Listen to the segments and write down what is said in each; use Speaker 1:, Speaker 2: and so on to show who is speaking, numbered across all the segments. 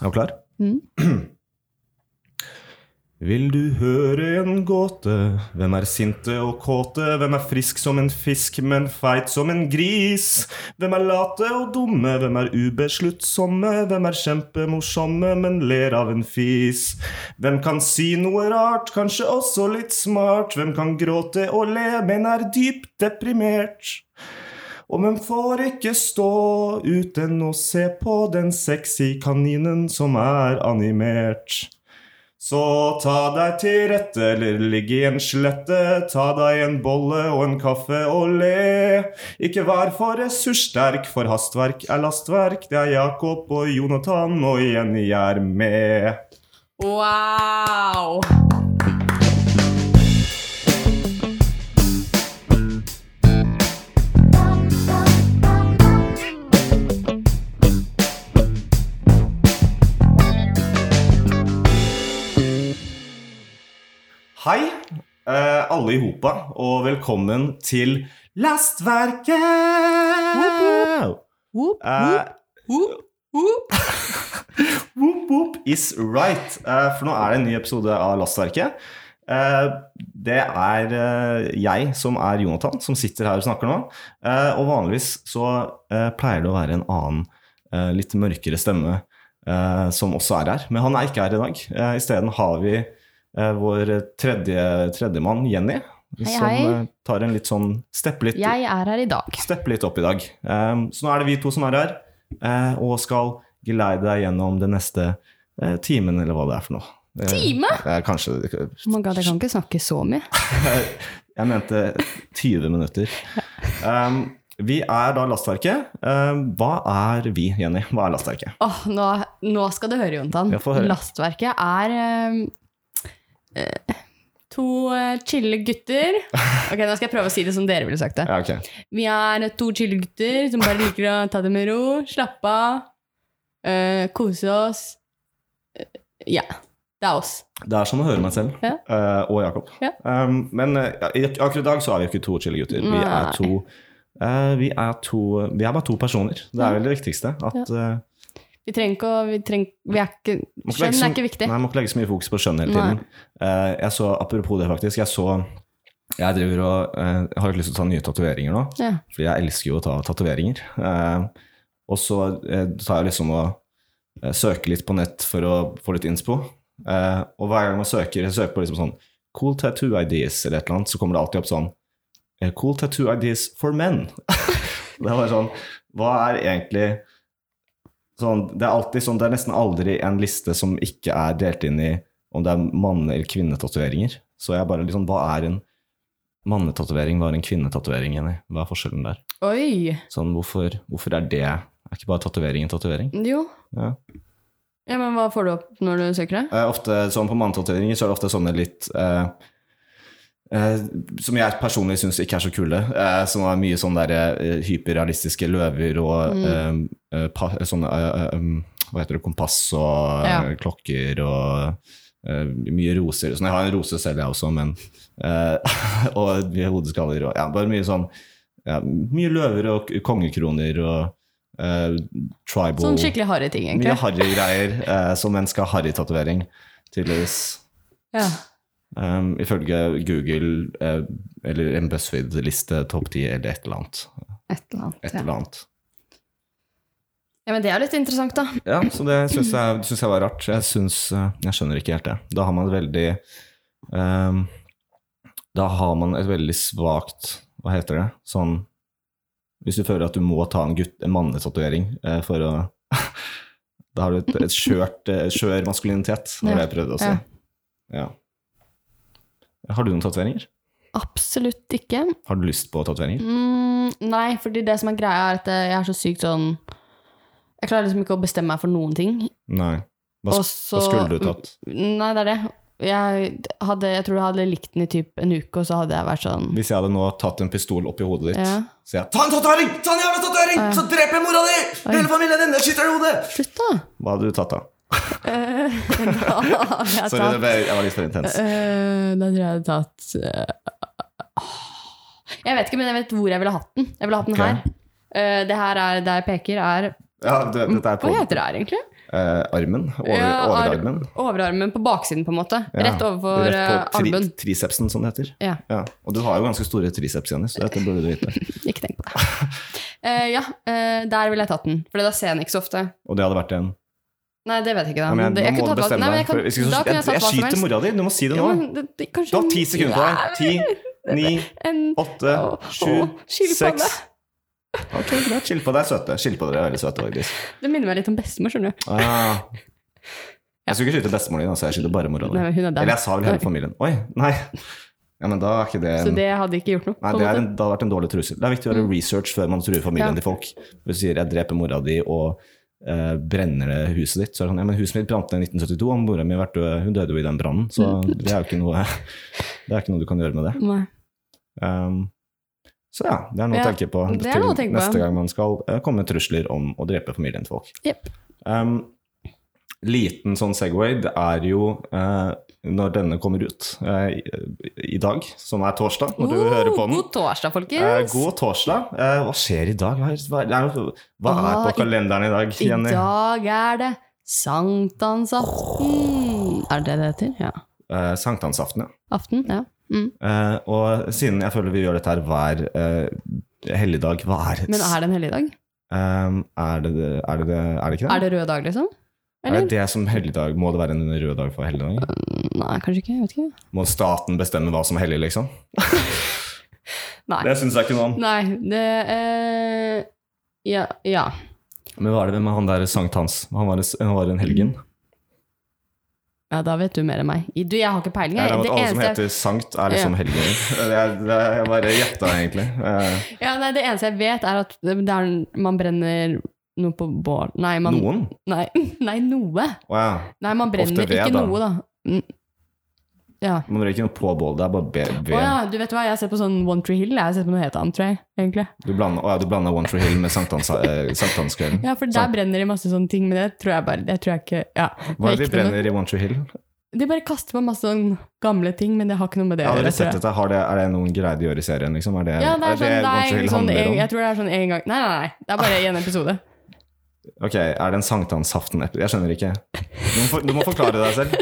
Speaker 1: Er du klar?
Speaker 2: Mm.
Speaker 1: Vil du høre en gåte? Hvem er sinte og kåte? Hvem er frisk som en fisk, men feit som en gris? Hvem er late og dumme? Hvem er ubesluttsomme? Hvem er kjempemorsomme, men ler av en fis? Hvem kan si noe rart, kanskje også litt smart? Hvem kan gråte og le, men er dypt deprimert? Og man får ikke stå uten å se på den sexy kaninen som er animert. Så ta deg til rette, eller ligg i en slette. Ta deg en bolle og en kaffe og le. Ikke vær for ressurssterk, for hastverk er lastverk. Det er Jakob og Jonathan, og Jenny er med.
Speaker 2: Wow!
Speaker 1: Hei, eh, alle i hopa, og velkommen til Lastverket!
Speaker 2: Whoop,
Speaker 1: Eh,
Speaker 2: whoop, whoop, whoop.
Speaker 1: Whoop, whoop is right. Eh, for nå er det en ny episode av Lastverket. Eh, det er eh, jeg som er Jonathan, som sitter her og snakker nå. Eh, og vanligvis så eh, pleier det å være en annen, eh, litt mørkere stemme eh, som også er her. Men han er ikke her i dag. Eh, Isteden har vi eh, vår tredje tredjemann, Jenny, som
Speaker 2: hei.
Speaker 1: eh, tar en litt sånn steppe litt
Speaker 2: Jeg er her i dag.
Speaker 1: steppe litt opp i dag. Ehm, så nå er det vi to som er her, eh, og skal geleide deg gjennom den neste eh, timen, eller hva det er for noe. Eh,
Speaker 2: Time?
Speaker 1: det er kanskje
Speaker 2: Oh my god, jeg kan ikke snakke så mye.
Speaker 1: Jeg mente 20 minutter. Ehm, vi er da Lastverket. Ehm, hva er vi, Jenny? Hva er Lastverket?
Speaker 2: Åh, nå, nå skal du høre, Jontan.
Speaker 1: Ja, få høre.
Speaker 2: Lastverket er eh, eh, to eh, chille gutter. Ok, nå skal jeg prøve å si det som dere ville sagt det.
Speaker 1: Ja, ok.
Speaker 2: Vi er to chille gutter som bare liker å ta det med ro, slappe av, eh, kose oss. Eh, Ja. Det er oss.
Speaker 1: Det er som å høre meg selv
Speaker 2: Ja.
Speaker 1: eh, og Jakob.
Speaker 2: Ja.
Speaker 1: Ehm, men eh, i- akkurat i dag så er vi jo ikke to chille gutter. Vi er
Speaker 2: Nei.
Speaker 1: to eh, vi er, to, vi er bare to personer. Det er vel det viktigste. At, eh,
Speaker 2: Vi trenger ikke å vi trenger, vi er ikke,
Speaker 1: Man skal
Speaker 2: Skjønn
Speaker 1: så-
Speaker 2: er ikke viktig.
Speaker 1: Nei, man må ikke legge så mye fokus på skjønn hele tiden. Eh, jeg så, apropos det faktisk, jeg så Jeg driver og eh, har litt lyst til å ta nye tatoveringer nå,
Speaker 2: Ja.
Speaker 1: fordi jeg elsker jo å ta tatoveringer. Eh, og så eh, tar jeg liksom og eh, søker litt på nett for å få litt innspo. Eh, og hver gang man søker, jeg søker på liksom sånn Cool tattoo ideas eller et eller annet, så kommer det alltid opp sånn eh, Cool tattoo ideas for men. det var sånn Hva er egentlig sånn, det, er alltid sånn, det er nesten aldri en liste som ikke er delt inn i om det er manne- eller kvinnetatoveringer. Så jeg bare liksom, hva er en mannetatovering, hva er en kvinnetatovering, Jenny? Hva er forskjellen der?
Speaker 2: Oi!
Speaker 1: Sånn, hvorfor, hvorfor er det Er ikke bare tatovering en tatovering?
Speaker 2: Jo.
Speaker 1: Ja.
Speaker 2: Ja, men hva får du opp når du søker det?
Speaker 1: Eh, ofte, sånn på mannetatoveringer så er det ofte sånne litt eh, eh, Som jeg personlig syns ikke er så kule. eh, som er mye sånn der eh, hyperrealistiske løver og
Speaker 2: Mm.
Speaker 1: eh, eh, pa, sånne eh, eh, um, Hva heter det, kompass og
Speaker 2: Ja.
Speaker 1: eh, klokker og eh, mye roser. Sånn, jeg har en rose selv, jeg også, men eh, Og mye hodeskaller og ja, bare mye sånn ja, Mye løver og k- kongekroner og eh, tribal
Speaker 2: Sånn skikkelig harry ting,
Speaker 1: mye
Speaker 2: egentlig.
Speaker 1: harrygreier eh, som en skal ha harrytatovering, tydeligvis.
Speaker 2: Ja.
Speaker 1: Um, ifølge Google eh, eller en BuzzFeed-liste, topp 10 eller et eller annet.
Speaker 2: Et eller annet.
Speaker 1: Et
Speaker 2: Ja.
Speaker 1: eller annet.
Speaker 2: ja, men det er jo litt interessant, da.
Speaker 1: Ja, så det syns jeg, syns jeg var rart. Jeg, syns, eh, jeg skjønner ikke helt det. Da har man et veldig ehm, Da har man et veldig svakt Hva heter det? Sånn Hvis du føler at du må ta en, gutt, en mannetatovering eh, for å Da har du et, et skjørt, eh, skjør maskulinitet, var
Speaker 2: Ja,
Speaker 1: det jeg prøvde å si. Ja. Har du noen tatoveringer?
Speaker 2: Absolutt ikke.
Speaker 1: Har du lyst på tatoveringer?
Speaker 2: Mm, nei, fordi det som er greia, er at eh, jeg er så sykt sånn Jeg klarer liksom ikke å bestemme meg for noen ting.
Speaker 1: Nei. Hva,
Speaker 2: Og
Speaker 1: sk-
Speaker 2: så
Speaker 1: hva
Speaker 2: Mm,
Speaker 1: skulle du tatt?
Speaker 2: Nei, det er det. Jeg, hadde, jeg tror jeg hadde likt den i typ en uke, og så hadde jeg vært sånn
Speaker 1: Hvis jeg hadde nå tatt en pistol opp i hodet ditt,
Speaker 2: Ja.
Speaker 1: så jeg Ta en tatovering! Ta en jævla tatovering!
Speaker 2: Ja.
Speaker 1: Så dreper jeg mora di! Hele familien din! Jeg skyter deg i hodet!
Speaker 2: Slutt, da!
Speaker 1: Hva hadde du tatt, da?
Speaker 2: Eh, da hadde jeg
Speaker 1: Sorry, det
Speaker 2: tatt
Speaker 1: ble, jeg var litt for intens.
Speaker 2: eh, Da tror jeg jeg hadde tatt eh, åh. Jeg vet ikke, men jeg vet hvor jeg ville hatt den. Jeg ville hatt den
Speaker 1: Ok.
Speaker 2: her. Eh, det her er der jeg peker, er
Speaker 1: Ja, du, vet, dette er
Speaker 2: Hva
Speaker 1: på
Speaker 2: heter det her, egentlig?
Speaker 1: eh, armen. Over,
Speaker 2: Ja, ar-
Speaker 1: overarmen.
Speaker 2: Overarmen på baksiden, på en måte.
Speaker 1: Ja,
Speaker 2: Rett overfor
Speaker 1: Rett på
Speaker 2: eh,
Speaker 1: tri
Speaker 2: albuen.
Speaker 1: tricepsen, som det heter.
Speaker 2: Ja.
Speaker 1: Og du har jo ganske store triceps, Jenny, så dette burde du vite.
Speaker 2: Ikke tenk på det. Eh, ja, eh, der ville jeg tatt den. For da ser jeg den ikke så ofte.
Speaker 1: Og det hadde vært en
Speaker 2: Nei, det vet jeg ikke.
Speaker 1: Ja,
Speaker 2: Da.
Speaker 1: men jeg-
Speaker 2: Det- jeg
Speaker 1: nå må
Speaker 2: kunne
Speaker 1: du
Speaker 2: tatt hva-
Speaker 1: bestemme
Speaker 2: Nei, men
Speaker 1: deg.
Speaker 2: jeg kan,
Speaker 1: for
Speaker 2: da
Speaker 1: jeg synes- jeg,
Speaker 2: kunne jeg tatt
Speaker 1: jeg
Speaker 2: hva som
Speaker 1: skyter
Speaker 2: helst.
Speaker 1: mora di. Du må si det nå.
Speaker 2: Ja, men det- det- kanskje-
Speaker 1: Du har ti sekunder på deg. Ti, ni,
Speaker 2: En
Speaker 1: åtte,
Speaker 2: Å,
Speaker 1: sju,
Speaker 2: å, skilpadde.
Speaker 1: seks Ok, greit. Chill på deg, søte. Chill på dere, veldig søte, faktisk.
Speaker 2: Det minner meg litt om bestemor, skjønner du.
Speaker 1: Ah. Jeg skulle ikke skyte bestemoren din, altså. Jeg skyter bare mora di.
Speaker 2: Nei, men hun er
Speaker 1: Eller
Speaker 2: der.
Speaker 1: jeg sa vel hele familien. Oi, nei. Ja, men da er ikke det en
Speaker 2: Så det hadde ikke gjort noe.
Speaker 1: Nei,
Speaker 2: på en
Speaker 1: det, er
Speaker 2: måte. Mm.
Speaker 1: en, det hadde vært en dårlig trussel. Det er viktig å gjøre research før man truer familien
Speaker 2: Ja.
Speaker 1: til folk. Hvis du sier 'jeg dreper mora di' og eh, brenner det huset ditt, så er det sånn 'ja, men huset mitt brant ned i 1972', og mora mi har vært død, hun døde jo i den brannen, så
Speaker 2: Mm.
Speaker 1: det er jo ikke noe, det er ikke noe du kan gjøre med det.
Speaker 2: Nei.
Speaker 1: Um, så ja, det er noe
Speaker 2: Ja,
Speaker 1: å tenke på
Speaker 2: det er
Speaker 1: til
Speaker 2: noe å tenke på.
Speaker 1: neste gang man skal eh, komme med trusler om å drepe familien til folk.
Speaker 2: Jepp.
Speaker 1: Um, liten sånn Segway, det er jo eh, når denne kommer ut eh, i, i dag, som er torsdag, når du
Speaker 2: Oh,
Speaker 1: hører på den.
Speaker 2: God torsdag,
Speaker 1: Eh,
Speaker 2: folkens!
Speaker 1: god torsdag. Eh, hva skjer i dag? Hva er, hva er, hva er
Speaker 2: Ah,
Speaker 1: på
Speaker 2: i-
Speaker 1: kalenderen i dag,
Speaker 2: I
Speaker 1: Jenny?
Speaker 2: dag er det sankthansaften. Er det det det heter? Ja.
Speaker 1: Eh, Sankthansaften, ja.
Speaker 2: Aften? Ja. Mm.
Speaker 1: Eh, og siden jeg føler vi gjør dette her hver eh, helligdag, hva er det?
Speaker 2: Men er det en helligdag?
Speaker 1: Eh, er, det, det- er, det, det er det ikke det?
Speaker 2: Er det rød dag, liksom?
Speaker 1: Er
Speaker 2: Eller?
Speaker 1: det det som helligdag? Må det være en rød dag for helligdag?
Speaker 2: Nei, kanskje ikke. Jeg vet ikke.
Speaker 1: Må staten bestemme hva som er hellig, liksom?
Speaker 2: Nei.
Speaker 1: Det syns jeg ikke noe om.
Speaker 2: Nei, det eh, Ja. ja.
Speaker 1: Men hva er det med han der sankthans? Han var, en- han var en helgen?
Speaker 2: Ja, da vet du mer enn meg. I- Du, jeg har ikke peiling.
Speaker 1: Jeg
Speaker 2: Jeg.
Speaker 1: regner med
Speaker 2: Det
Speaker 1: at alle som
Speaker 2: eneste,
Speaker 1: heter sankt, er liksom helgener. Det er- det er- Jeg bare gjetta, egentlig. Eh,
Speaker 2: jeg- ja, nei, det eneste jeg vet, er at det er, man brenner noe på bål Nei, man
Speaker 1: Noen?
Speaker 2: Nei, nei noe.
Speaker 1: Wow.
Speaker 2: Nei, man brenner
Speaker 1: Ofte ved,
Speaker 2: ikke
Speaker 1: da.
Speaker 2: noe, da. Mm. Ja.
Speaker 1: Man røyker ikke noe på bålet, det er bare be-
Speaker 2: Å
Speaker 1: ved.
Speaker 2: ja, du vet hva, jeg har sett på sånn One Tree Hill. Jeg har sett på noe helt annet, tror jeg. egentlig.
Speaker 1: Du blander, å ja, du blander One Tree Hill med sankthans- eh, sankthanskvelden.
Speaker 2: Ja, for der
Speaker 1: Sant.
Speaker 2: brenner de masse sånne ting, men det tror jeg bare det tror jeg ikke, ja.
Speaker 1: Hva er det de
Speaker 2: det er ikke noe-
Speaker 1: brenner i One Tree Hill?
Speaker 2: De bare kaster på masse sånn gamle ting, men det har ikke noe med det
Speaker 1: Ja,
Speaker 2: å
Speaker 1: dere
Speaker 2: gjøre.
Speaker 1: har
Speaker 2: tror
Speaker 1: sett
Speaker 2: jeg.
Speaker 1: dette, har det, er det noen greier de gjør i serien? Liksom? Er det,
Speaker 2: Ja, det er sånn,
Speaker 1: One
Speaker 2: det er
Speaker 1: Tree Hill
Speaker 2: en sånn
Speaker 1: handler
Speaker 2: en,
Speaker 1: om?
Speaker 2: jeg tror det er sånn en gang Nei, nei, nei. Det er bare i en episode.
Speaker 1: Ok, er det en sankthansaften-episode? Jeg skjønner ikke. Du må, for, du må forklare deg selv.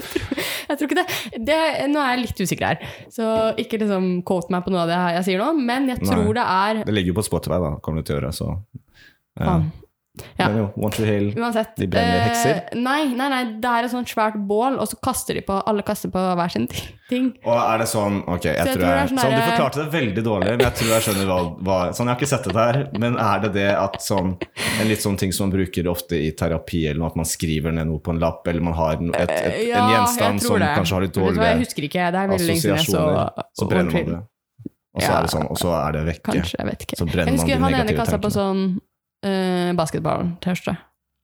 Speaker 2: Jeg tror ikke det. det nå er jeg litt usikker her, så ikke liksom quote meg på noe av det her jeg sier nå, men jeg
Speaker 1: Nei.
Speaker 2: tror det er
Speaker 1: Det ligger jo på Spotify, da, kommer du til å gjøre. Så. eh,
Speaker 2: Faen. ja.
Speaker 1: Men jo, One Tree Hill
Speaker 2: Uansett.
Speaker 1: De brenner
Speaker 2: eh,
Speaker 1: hekser?
Speaker 2: Nei, nei, nei, det er et sånt svært bål, og så kaster de på Alle kaster på hver sin ti- ting.
Speaker 1: Og er det sånn Ok, jeg,
Speaker 2: Så jeg
Speaker 1: tror,
Speaker 2: tror det er
Speaker 1: jeg
Speaker 2: sånn
Speaker 1: sånn, Du
Speaker 2: der-
Speaker 1: forklarte det veldig dårlig, men jeg tror jeg skjønner hva, hva Sånn, jeg har ikke sett det der, men er det det at sånn En litt sånn ting som man bruker ofte i terapi, eller noe, at man skriver ned noe på en lapp, eller man har en- et, et,
Speaker 2: Eh, Ja,
Speaker 1: en
Speaker 2: jeg
Speaker 1: gjenstand som
Speaker 2: tror det.
Speaker 1: kanskje har litt
Speaker 2: Vet du hva, Jeg
Speaker 1: dårlige
Speaker 2: husker ikke, det er veldig lenge siden jeg så
Speaker 1: assosiasjoner, så brenner
Speaker 2: One
Speaker 1: man
Speaker 2: Tree-
Speaker 1: det. Og så
Speaker 2: Ja.
Speaker 1: er det sånn, og så er det vekke.
Speaker 2: Kanskje, jeg vet ikke.
Speaker 1: Så brenner
Speaker 2: Jeg
Speaker 1: man de
Speaker 2: husker han ene
Speaker 1: negative
Speaker 2: kasta på
Speaker 1: tankene.
Speaker 2: sånn uh, basketball-T-skjorte.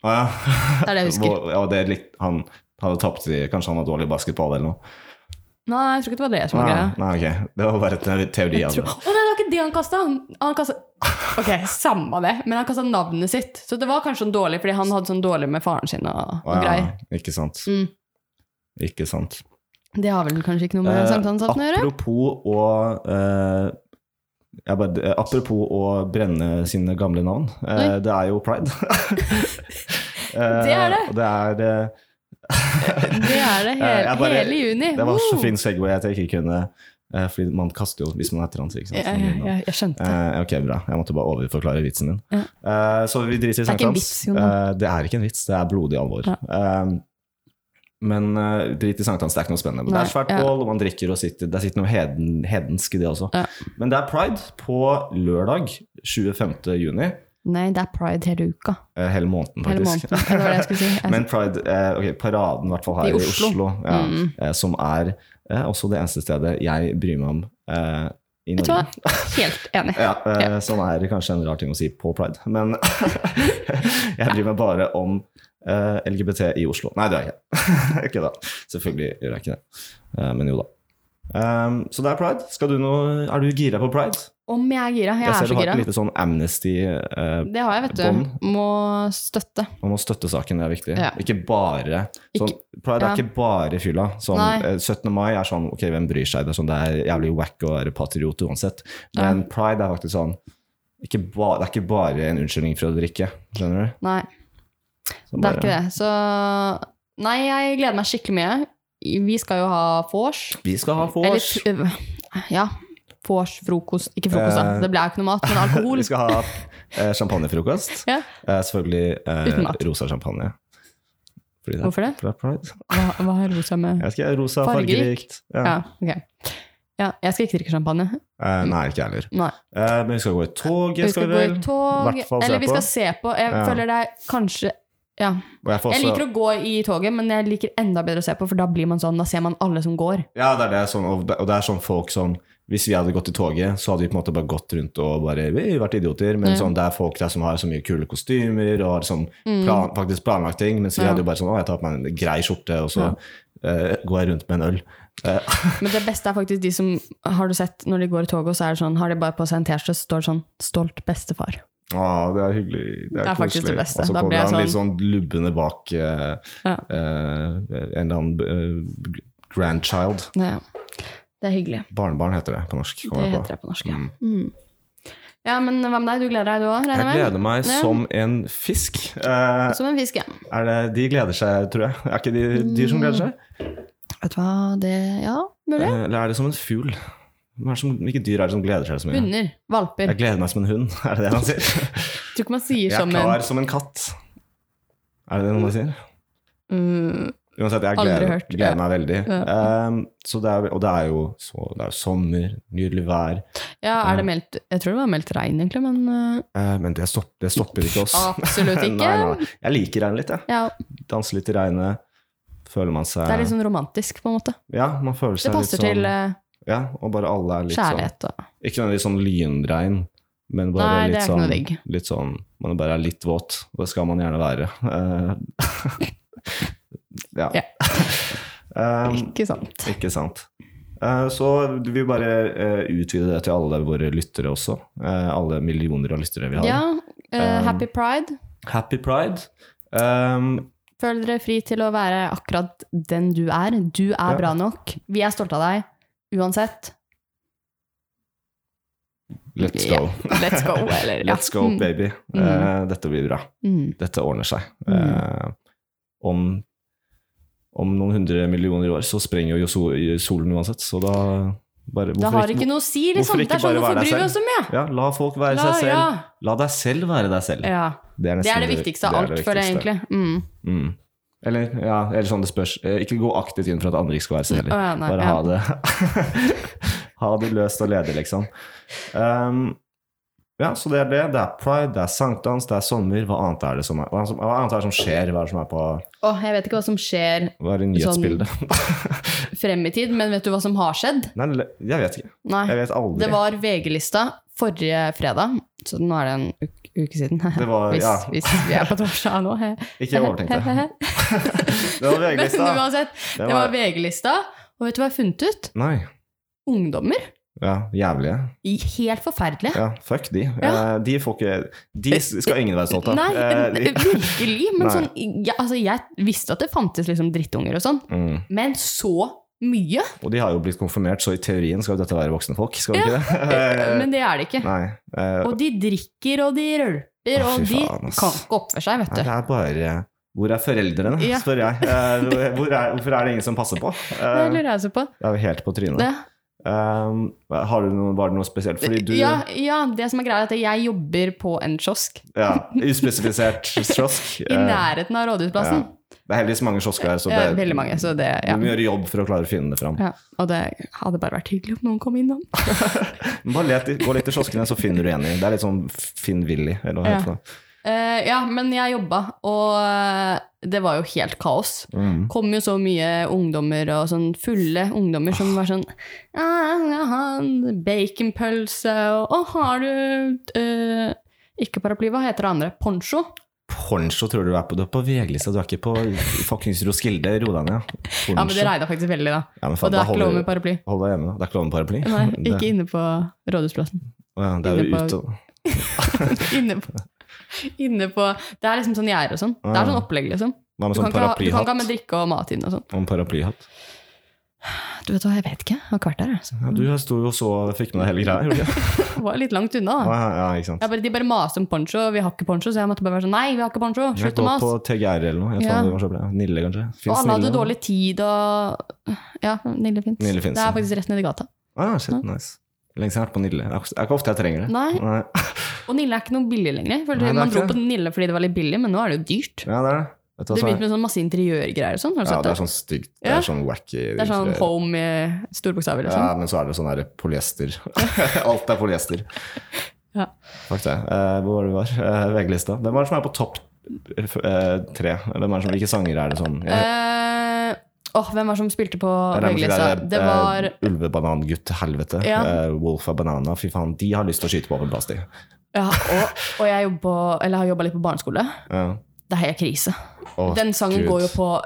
Speaker 1: Å ja.
Speaker 2: Det er det jeg husker.
Speaker 1: Hvor- ja, det er litt, han hadde tapt i Kanskje han var dårlig i basketball eller noe?
Speaker 2: Nei, jeg tror ikke det var det som var
Speaker 1: Nei,
Speaker 2: greia.
Speaker 1: nei, ok. Det var bare en teori
Speaker 2: Jeg
Speaker 1: av
Speaker 2: tror-
Speaker 1: det.
Speaker 2: Å nei, det var ikke det han kasta! Han, han kasta Ok, samme det, men han kasta navnet sitt. Så det var kanskje sånn dårlig, fordi han hadde sånn dårlig med faren sin og, og
Speaker 1: Å ja,
Speaker 2: greier.
Speaker 1: ikke sant.
Speaker 2: Mm.
Speaker 1: Ikke sant.
Speaker 2: Det har vel kanskje ikke noe med
Speaker 1: Eh,
Speaker 2: sankthansaften å gjøre?
Speaker 1: apropos å eh, jeg bare, eh, apropos å brenne sine gamle navn. eh, det er jo pride. Eh,
Speaker 2: Det er det.
Speaker 1: og det er eh,
Speaker 2: Det er det
Speaker 1: Eh,
Speaker 2: hele,
Speaker 1: jeg bare-
Speaker 2: hele juni.
Speaker 1: Det var så
Speaker 2: Woo!
Speaker 1: fin segway at jeg ikke kunne eh, Fordi man kaster jo hvis man er trans. Ikke sant?
Speaker 2: Jeg,
Speaker 1: Så man blir
Speaker 2: jeg,
Speaker 1: navn.
Speaker 2: jeg, jeg skjønte.
Speaker 1: Eh, ok, bra. Jeg måtte bare overforklare vitsen min.
Speaker 2: Ja.
Speaker 1: Eh, så vi driter i
Speaker 2: Det er ikke en
Speaker 1: sankthans.
Speaker 2: vits, Jonas.
Speaker 1: Eh, det er ikke en vits, det er blodig alvor.
Speaker 2: Ja.
Speaker 1: Eh, men eh, drit i sankthans, det er ikke noe spennende. Men det
Speaker 2: Nei,
Speaker 1: er svært
Speaker 2: ja.
Speaker 1: bål, og man drikker og sitter. Det sitter noe heden, hedensk i det også.
Speaker 2: Ja.
Speaker 1: Men det er pride på lørdag 25. juni.
Speaker 2: Nei, det er pride hele uka.
Speaker 1: eh, hele måneden,
Speaker 2: Hele
Speaker 1: faktisk.
Speaker 2: måneden. Det var det jeg skulle si. Jeg-
Speaker 1: Men pride, eh, ok, paraden i hvert fall her
Speaker 2: I
Speaker 1: i Oslo,
Speaker 2: Oslo.
Speaker 1: ja,
Speaker 2: Mm.
Speaker 1: eh, som er eh, også det eneste stedet jeg bryr meg om eh, i
Speaker 2: Vet du
Speaker 1: Norge.
Speaker 2: hva? Helt enig.
Speaker 1: Ja, eh, Som er kanskje en rar ting å si på pride, men jeg driver meg bare om eh, LGBT i Oslo. Nei, det gjør jeg ikke. ikke da. Selvfølgelig gjør jeg ikke det, Eh, men jo da. Um, så det er pride. Skal du noe, er du gira på pride?
Speaker 2: Om jeg er gira. Jeg,
Speaker 1: jeg
Speaker 2: er
Speaker 1: ser
Speaker 2: så
Speaker 1: du har
Speaker 2: gira.
Speaker 1: et lite sånn amnesty eh,
Speaker 2: Det har jeg, vet du.
Speaker 1: bånd.
Speaker 2: Må støtte.
Speaker 1: Man må støtte saken, det er viktig.
Speaker 2: Ja.
Speaker 1: Ikke bare sånn, Pride er
Speaker 2: ja.
Speaker 1: ikke bare fylla. Sånn,
Speaker 2: Nei.
Speaker 1: eh, 17. mai er sånn Ok, hvem bryr seg? Det er, sånn, det er jævlig wack å være patriot uansett. Men pride er faktisk sånn ikke ba, Det er ikke bare en unnskyldning for å drikke. Skjønner du?
Speaker 2: Nei.
Speaker 1: Så
Speaker 2: Det er
Speaker 1: bare-
Speaker 2: ikke det. Så Nei, jeg gleder meg skikkelig mye. Vi skal jo ha vors.
Speaker 1: Vi skal ha
Speaker 2: Eller
Speaker 1: vors.
Speaker 2: øh, Ja. Vors, frokost Ikke frokost, da.
Speaker 1: Eh.
Speaker 2: Det ble jo ikke noe mat, men
Speaker 1: Vi
Speaker 2: alkohol.
Speaker 1: skal ha eh, champagnefrokost.
Speaker 2: Ja.
Speaker 1: Eh, selvfølgelig
Speaker 2: Uten
Speaker 1: eh,
Speaker 2: mat.
Speaker 1: rosa champagne. Fordi det er
Speaker 2: Hvorfor det?
Speaker 1: fra Pride.
Speaker 2: Hva, hva har rosa med
Speaker 1: Jeg vet ikke, rosa,
Speaker 2: Fargerikt.
Speaker 1: fargerikt. Ja.
Speaker 2: Ja, ok. Ja, jeg skal ikke drikke champagne.
Speaker 1: Eh, nei, ikke jeg heller.
Speaker 2: Nei.
Speaker 1: Eh, men vi skal gå i tog,
Speaker 2: Vi
Speaker 1: skal
Speaker 2: skal
Speaker 1: vi
Speaker 2: gå i
Speaker 1: vel. hvert fall
Speaker 2: tog.
Speaker 1: se
Speaker 2: Eller vi
Speaker 1: på.
Speaker 2: skal se på. Jeg
Speaker 1: Ja.
Speaker 2: føler det er kanskje Ja.
Speaker 1: Og jeg får
Speaker 2: Jeg
Speaker 1: også-
Speaker 2: liker å gå i toget, men jeg liker enda bedre å se på, for da blir man sånn, da ser man alle som går.
Speaker 1: Ja, det er det, sånn, og det og det er sånn folk som Hvis vi hadde gått i toget, så hadde vi på en måte bare gått rundt og bare vi har vært idioter. Men
Speaker 2: Ja.
Speaker 1: sånn, det er folk der som har så mye kule kostymer og har sånn
Speaker 2: Mm.
Speaker 1: plan, faktisk planlagt ting. Mens vi
Speaker 2: Ja.
Speaker 1: hadde jo bare sånn Å, jeg tar på meg en grei skjorte, og så eh, går jeg rundt med en øl.
Speaker 2: Men det beste er faktisk de som Har du sett når de går i toget, og så er det sånn, har de bare på seg en T-skjorte, så står det sånn 'Stolt bestefar'.
Speaker 1: Å, det er hyggelig. Det er,
Speaker 2: Det er faktisk
Speaker 1: koselig.
Speaker 2: det beste.
Speaker 1: Og så
Speaker 2: Da
Speaker 1: kommer
Speaker 2: blir jeg
Speaker 1: han litt sånn lubbende bak eh,
Speaker 2: Ja.
Speaker 1: eh, en eller annen eh, grandchild.
Speaker 2: Ja. Det er hyggelig.
Speaker 1: Barnebarn heter det på norsk.
Speaker 2: Det
Speaker 1: kommer jeg på.
Speaker 2: heter det på norsk, ja. Mm. Ja, men hva med deg? Du gleder deg, du òg,
Speaker 1: Jeg
Speaker 2: regner jeg med?
Speaker 1: gleder meg
Speaker 2: Ja.
Speaker 1: som en fisk. Eh,
Speaker 2: Som en fisk, ja.
Speaker 1: Er det, de gleder seg, tror jeg. Er ikke de dyr som gleder
Speaker 2: Mm,
Speaker 1: seg?
Speaker 2: Vet du hva, det Ja, mulig.
Speaker 1: Eh, Eller er det som en fugl? Hva er det som- Hvilke dyr er det som gleder seg så mye?
Speaker 2: Hunder. Valper.
Speaker 1: Jeg gleder meg som en hund, er det det han sier?
Speaker 2: Jeg tror ikke man sier
Speaker 1: Jeg er
Speaker 2: som en
Speaker 1: klar som en katt. Er det det noen sier?
Speaker 2: Mm,
Speaker 1: Uansett, jeg
Speaker 2: Aldri
Speaker 1: gleder,
Speaker 2: hørt.
Speaker 1: gleder meg veldig.
Speaker 2: Ja.
Speaker 1: Um, så det er, og det er jo så, det er jo sommer, nydelig vær.
Speaker 2: Ja, er det meldt Jeg tror det var meldt regn, egentlig, men øh,
Speaker 1: Eh, men det stopper, det stopper ikke oss.
Speaker 2: absolutt ikke.
Speaker 1: nei, nei. Jeg liker regn litt, jeg.
Speaker 2: Ja,
Speaker 1: Danser litt i regnet. Føler man seg
Speaker 2: det er litt sånn romantisk, på en måte.
Speaker 1: Ja, man føler
Speaker 2: Det
Speaker 1: seg litt
Speaker 2: passer
Speaker 1: sånn
Speaker 2: til øh,
Speaker 1: Ja, og bare alle er litt sånn
Speaker 2: kjærlighet og
Speaker 1: Ikke nødvendigvis sånn lynregn, men bare
Speaker 2: Nei, det
Speaker 1: litt,
Speaker 2: er ikke
Speaker 1: sånn,
Speaker 2: noe digg.
Speaker 1: litt sånn Man bare er litt våt, og det skal man gjerne være. Eh, ja.
Speaker 2: Ja.
Speaker 1: Um,
Speaker 2: Ikke sant.
Speaker 1: ikke sant. Eh, så vi vil bare eh, utvide det til alle våre lyttere også. Eh, alle millioner av lyttere vi har.
Speaker 2: Ja, øh,
Speaker 1: Um,
Speaker 2: happy pride.
Speaker 1: Happy pride. Um,
Speaker 2: Føl dere fri til å være akkurat den du er. Du er
Speaker 1: Ja.
Speaker 2: bra nok. Vi er stolte av deg uansett.
Speaker 1: let's
Speaker 2: Ja.
Speaker 1: go.
Speaker 2: Let's go, eller ja.
Speaker 1: Let's go,
Speaker 2: Mm,
Speaker 1: baby.
Speaker 2: Mm.
Speaker 1: Eh, dette blir bra.
Speaker 2: mm.
Speaker 1: dette ordner seg.
Speaker 2: Mm.
Speaker 1: Eh, om, om noen hundre millioner år så sprenger jo so- solen uansett, så da bare,
Speaker 2: Det
Speaker 1: hvorfor
Speaker 2: har ikke noe å si,
Speaker 1: hvorfor
Speaker 2: liksom.
Speaker 1: ikke
Speaker 2: Det er sånn,
Speaker 1: bare være
Speaker 2: hvorfor
Speaker 1: deg
Speaker 2: bryr vi
Speaker 1: selv?
Speaker 2: oss så mye?
Speaker 1: Ja, la folk være
Speaker 2: La,
Speaker 1: seg selv.
Speaker 2: ja.
Speaker 1: La deg selv være deg selv.
Speaker 2: ja.
Speaker 1: er,
Speaker 2: Det
Speaker 1: nesten
Speaker 2: er det viktigste
Speaker 1: det
Speaker 2: av
Speaker 1: er
Speaker 2: alt,
Speaker 1: det
Speaker 2: føler jeg
Speaker 1: viktigste.
Speaker 2: egentlig. Mm.
Speaker 1: Mm. Eller, ja, eller sånn det spørs. Eh, Ikke gå aktivt inn for at andre ikke skal være seg heller.
Speaker 2: Å, ja, nei,
Speaker 1: Bare
Speaker 2: ja.
Speaker 1: ha det Ha det løst og ledig, liksom. Um, ja, så det er det. Det er pride, det er sankthans, det er sommer. Hva annet er det som, er, hva som- hva annet er det som skjer? Hva er det som er på
Speaker 2: Åh, jeg vet ikke hva som skjer
Speaker 1: Hva er det nyhetsbildet?
Speaker 2: frem i tid, men vet du hva som har skjedd?
Speaker 1: Nei, le- jeg vet ikke.
Speaker 2: Nei.
Speaker 1: Jeg vet aldri.
Speaker 2: Det var VG-lista forrige fredag, så nå er det en uke, uke siden.
Speaker 1: Det var-
Speaker 2: hvis,
Speaker 1: ja.
Speaker 2: hvis vi er på torsdag nå.
Speaker 1: Ikke overtenk det. Det var
Speaker 2: Men
Speaker 1: VG-lista.
Speaker 2: uansett,
Speaker 1: Det
Speaker 2: det var VG-lista, og vet du hva jeg har funnet ut?
Speaker 1: Nei.
Speaker 2: Ungdommer.
Speaker 1: Ja, jævlige.
Speaker 2: Helt forferdelige.
Speaker 1: Ja, fuck de.
Speaker 2: Ja.
Speaker 1: Eh, De får ikke De skal ingen være stolt av.
Speaker 2: Nei,
Speaker 1: Eh, de-
Speaker 2: virkelig. Men
Speaker 1: Nei.
Speaker 2: sånn, ja, altså, jeg visste at det fantes liksom drittunger og sånn,
Speaker 1: Mm.
Speaker 2: men så mye?
Speaker 1: Og de har jo blitt konfirmert, så i teorien skal jo dette være voksne folk, skal det ikke det? Eh,
Speaker 2: Men det er det ikke.
Speaker 1: Nei. Eh,
Speaker 2: Og de drikker, og de
Speaker 1: Å,
Speaker 2: rølper, og
Speaker 1: fy
Speaker 2: de
Speaker 1: faen, ass.
Speaker 2: kan ikke oppføre seg,
Speaker 1: nei,
Speaker 2: vet
Speaker 1: det
Speaker 2: du.
Speaker 1: er bare Hvor er foreldrene,
Speaker 2: Ja.
Speaker 1: spør jeg. Eh, Hvor er, hvorfor er det ingen som passer på?
Speaker 2: Det
Speaker 1: Eh,
Speaker 2: lurer jeg også på.
Speaker 1: Det er jo helt på trynet.
Speaker 2: Det.
Speaker 1: Um, har du noe, var det noe spesielt? Fordi du
Speaker 2: Ja, ja, det som er greia er at jeg jobber på en kiosk
Speaker 1: Ja, uspesifisert kiosk.
Speaker 2: i
Speaker 1: Eh,
Speaker 2: nærheten av Rådhusplassen.
Speaker 1: Det er heldigvis mange kiosker her, så
Speaker 2: Ja,
Speaker 1: det,
Speaker 2: veldig mange, så det ja.
Speaker 1: du må gjøre jobb for å klare å finne det fram.
Speaker 2: ja. Og det hadde bare vært hyggelig om noen kom innom.
Speaker 1: Men Bare let, gå litt i kioskene, så finner du en i. Det er litt sånn Finn Willy, eller hva
Speaker 2: Ja.
Speaker 1: heter det.
Speaker 2: Eh, ja, men jeg jobba, og eh, det var jo helt kaos.
Speaker 1: Mm.
Speaker 2: Kom jo så mye ungdommer og sånn fulle ungdommer som var sånn «Ah, jeg har en Baconpølse og Å, har du eh, Ikke paraply, hva heter det andre? Poncho?
Speaker 1: Poncho tror du er på, du er på VG-lista, du er ikke på fuckings Roskilde. Ro deg ned. Poncho.
Speaker 2: Ja, men det regna faktisk veldig, da.
Speaker 1: Ja, men faen,
Speaker 2: Og det
Speaker 1: da
Speaker 2: er ikke lov
Speaker 1: holder-
Speaker 2: med paraply.
Speaker 1: Hold deg hjemme, da. Det er ikke lov med paraply.
Speaker 2: Nei,
Speaker 1: det,
Speaker 2: ikke inne på Rådhusplassen.
Speaker 1: ja, det er jo
Speaker 2: inne
Speaker 1: ute.
Speaker 2: på- Inne på, inne på Det er liksom sånn gjerde og sånn. Det er sånn opplegg, liksom.
Speaker 1: Hva med Ah.
Speaker 2: Du kan,
Speaker 1: sånn
Speaker 2: ikke ha, du kan ikke ha
Speaker 1: paraplyhatt?
Speaker 2: med drikke og mat inn og sånn.
Speaker 1: Om paraplyhatt.
Speaker 2: Du vet hva, jeg vet ikke. Jeg har ikke vært der, altså. jeg.
Speaker 1: Ja, du sto jo og så fikk med deg hele greia. gjorde du ikke?
Speaker 2: Så var jeg litt langt unna. da.
Speaker 1: Ja, ja, ikke sant.
Speaker 2: Jeg bare, de bare maste om poncho, vi har ikke poncho, så jeg måtte bare være sånn Nei, vi har ikke poncho,
Speaker 1: Jeg
Speaker 2: slutt å
Speaker 1: går på
Speaker 2: mase.
Speaker 1: TGR eller noe. Jeg
Speaker 2: Ja.
Speaker 1: faen, det var så bra. Nille, kanskje?
Speaker 2: Og
Speaker 1: Finnes
Speaker 2: alle hadde
Speaker 1: Nille?
Speaker 2: dårlig tid og Ja, Nille fins.
Speaker 1: Nille fins,
Speaker 2: Det
Speaker 1: ja.
Speaker 2: er faktisk rett nedi gata.
Speaker 1: Ah, shit, nice. Lenge siden jeg har vært på Nille. Det er ikke- Det er ikke ofte jeg trenger det.
Speaker 2: Nei.
Speaker 1: Nei.
Speaker 2: Og Nille er ikke noe billig lenger. Jeg føler
Speaker 1: Nei, det er
Speaker 2: Man dro
Speaker 1: ikke
Speaker 2: på Nille fordi det var litt billig, men nå er det jo dyrt.
Speaker 1: Ja, det er det. Vet du hva
Speaker 2: Det
Speaker 1: som er-
Speaker 2: begynte med sånn masse interiørgreier og sånn. Har du
Speaker 1: Ja,
Speaker 2: sett
Speaker 1: det
Speaker 2: det?
Speaker 1: er sånn stygt. Det
Speaker 2: Ja.
Speaker 1: er sånn wacky.
Speaker 2: Det er sånn home i store bokstaver. Liksom.
Speaker 1: Ja, men så er det sånn der polyester. Alt er polyester.
Speaker 2: Ja.
Speaker 1: Fuck det. Eh, hvor var det vi var? Eh, VG-lista. Hvem er det som er på topp eh, f- eh, tre? Hvem er det som, hvilke sanger er det som Jeg-
Speaker 2: Eh, åh, hvem var det som spilte på
Speaker 1: jeg regner med
Speaker 2: VG-lista?
Speaker 1: det
Speaker 2: Det
Speaker 1: er, eh,
Speaker 2: var
Speaker 1: Ulvebanangutt, helvete.
Speaker 2: Ja.
Speaker 1: Eh, Wolf av Banana. Fy faen, de har lyst til å skyte på åpen plass, de.
Speaker 2: ja, og, og jeg, jobber på- eller jeg har jobba litt på barneskole.
Speaker 1: Ja.
Speaker 2: Det er helt krise.
Speaker 1: Å,
Speaker 2: Den sangen
Speaker 1: Gud.
Speaker 2: går jo på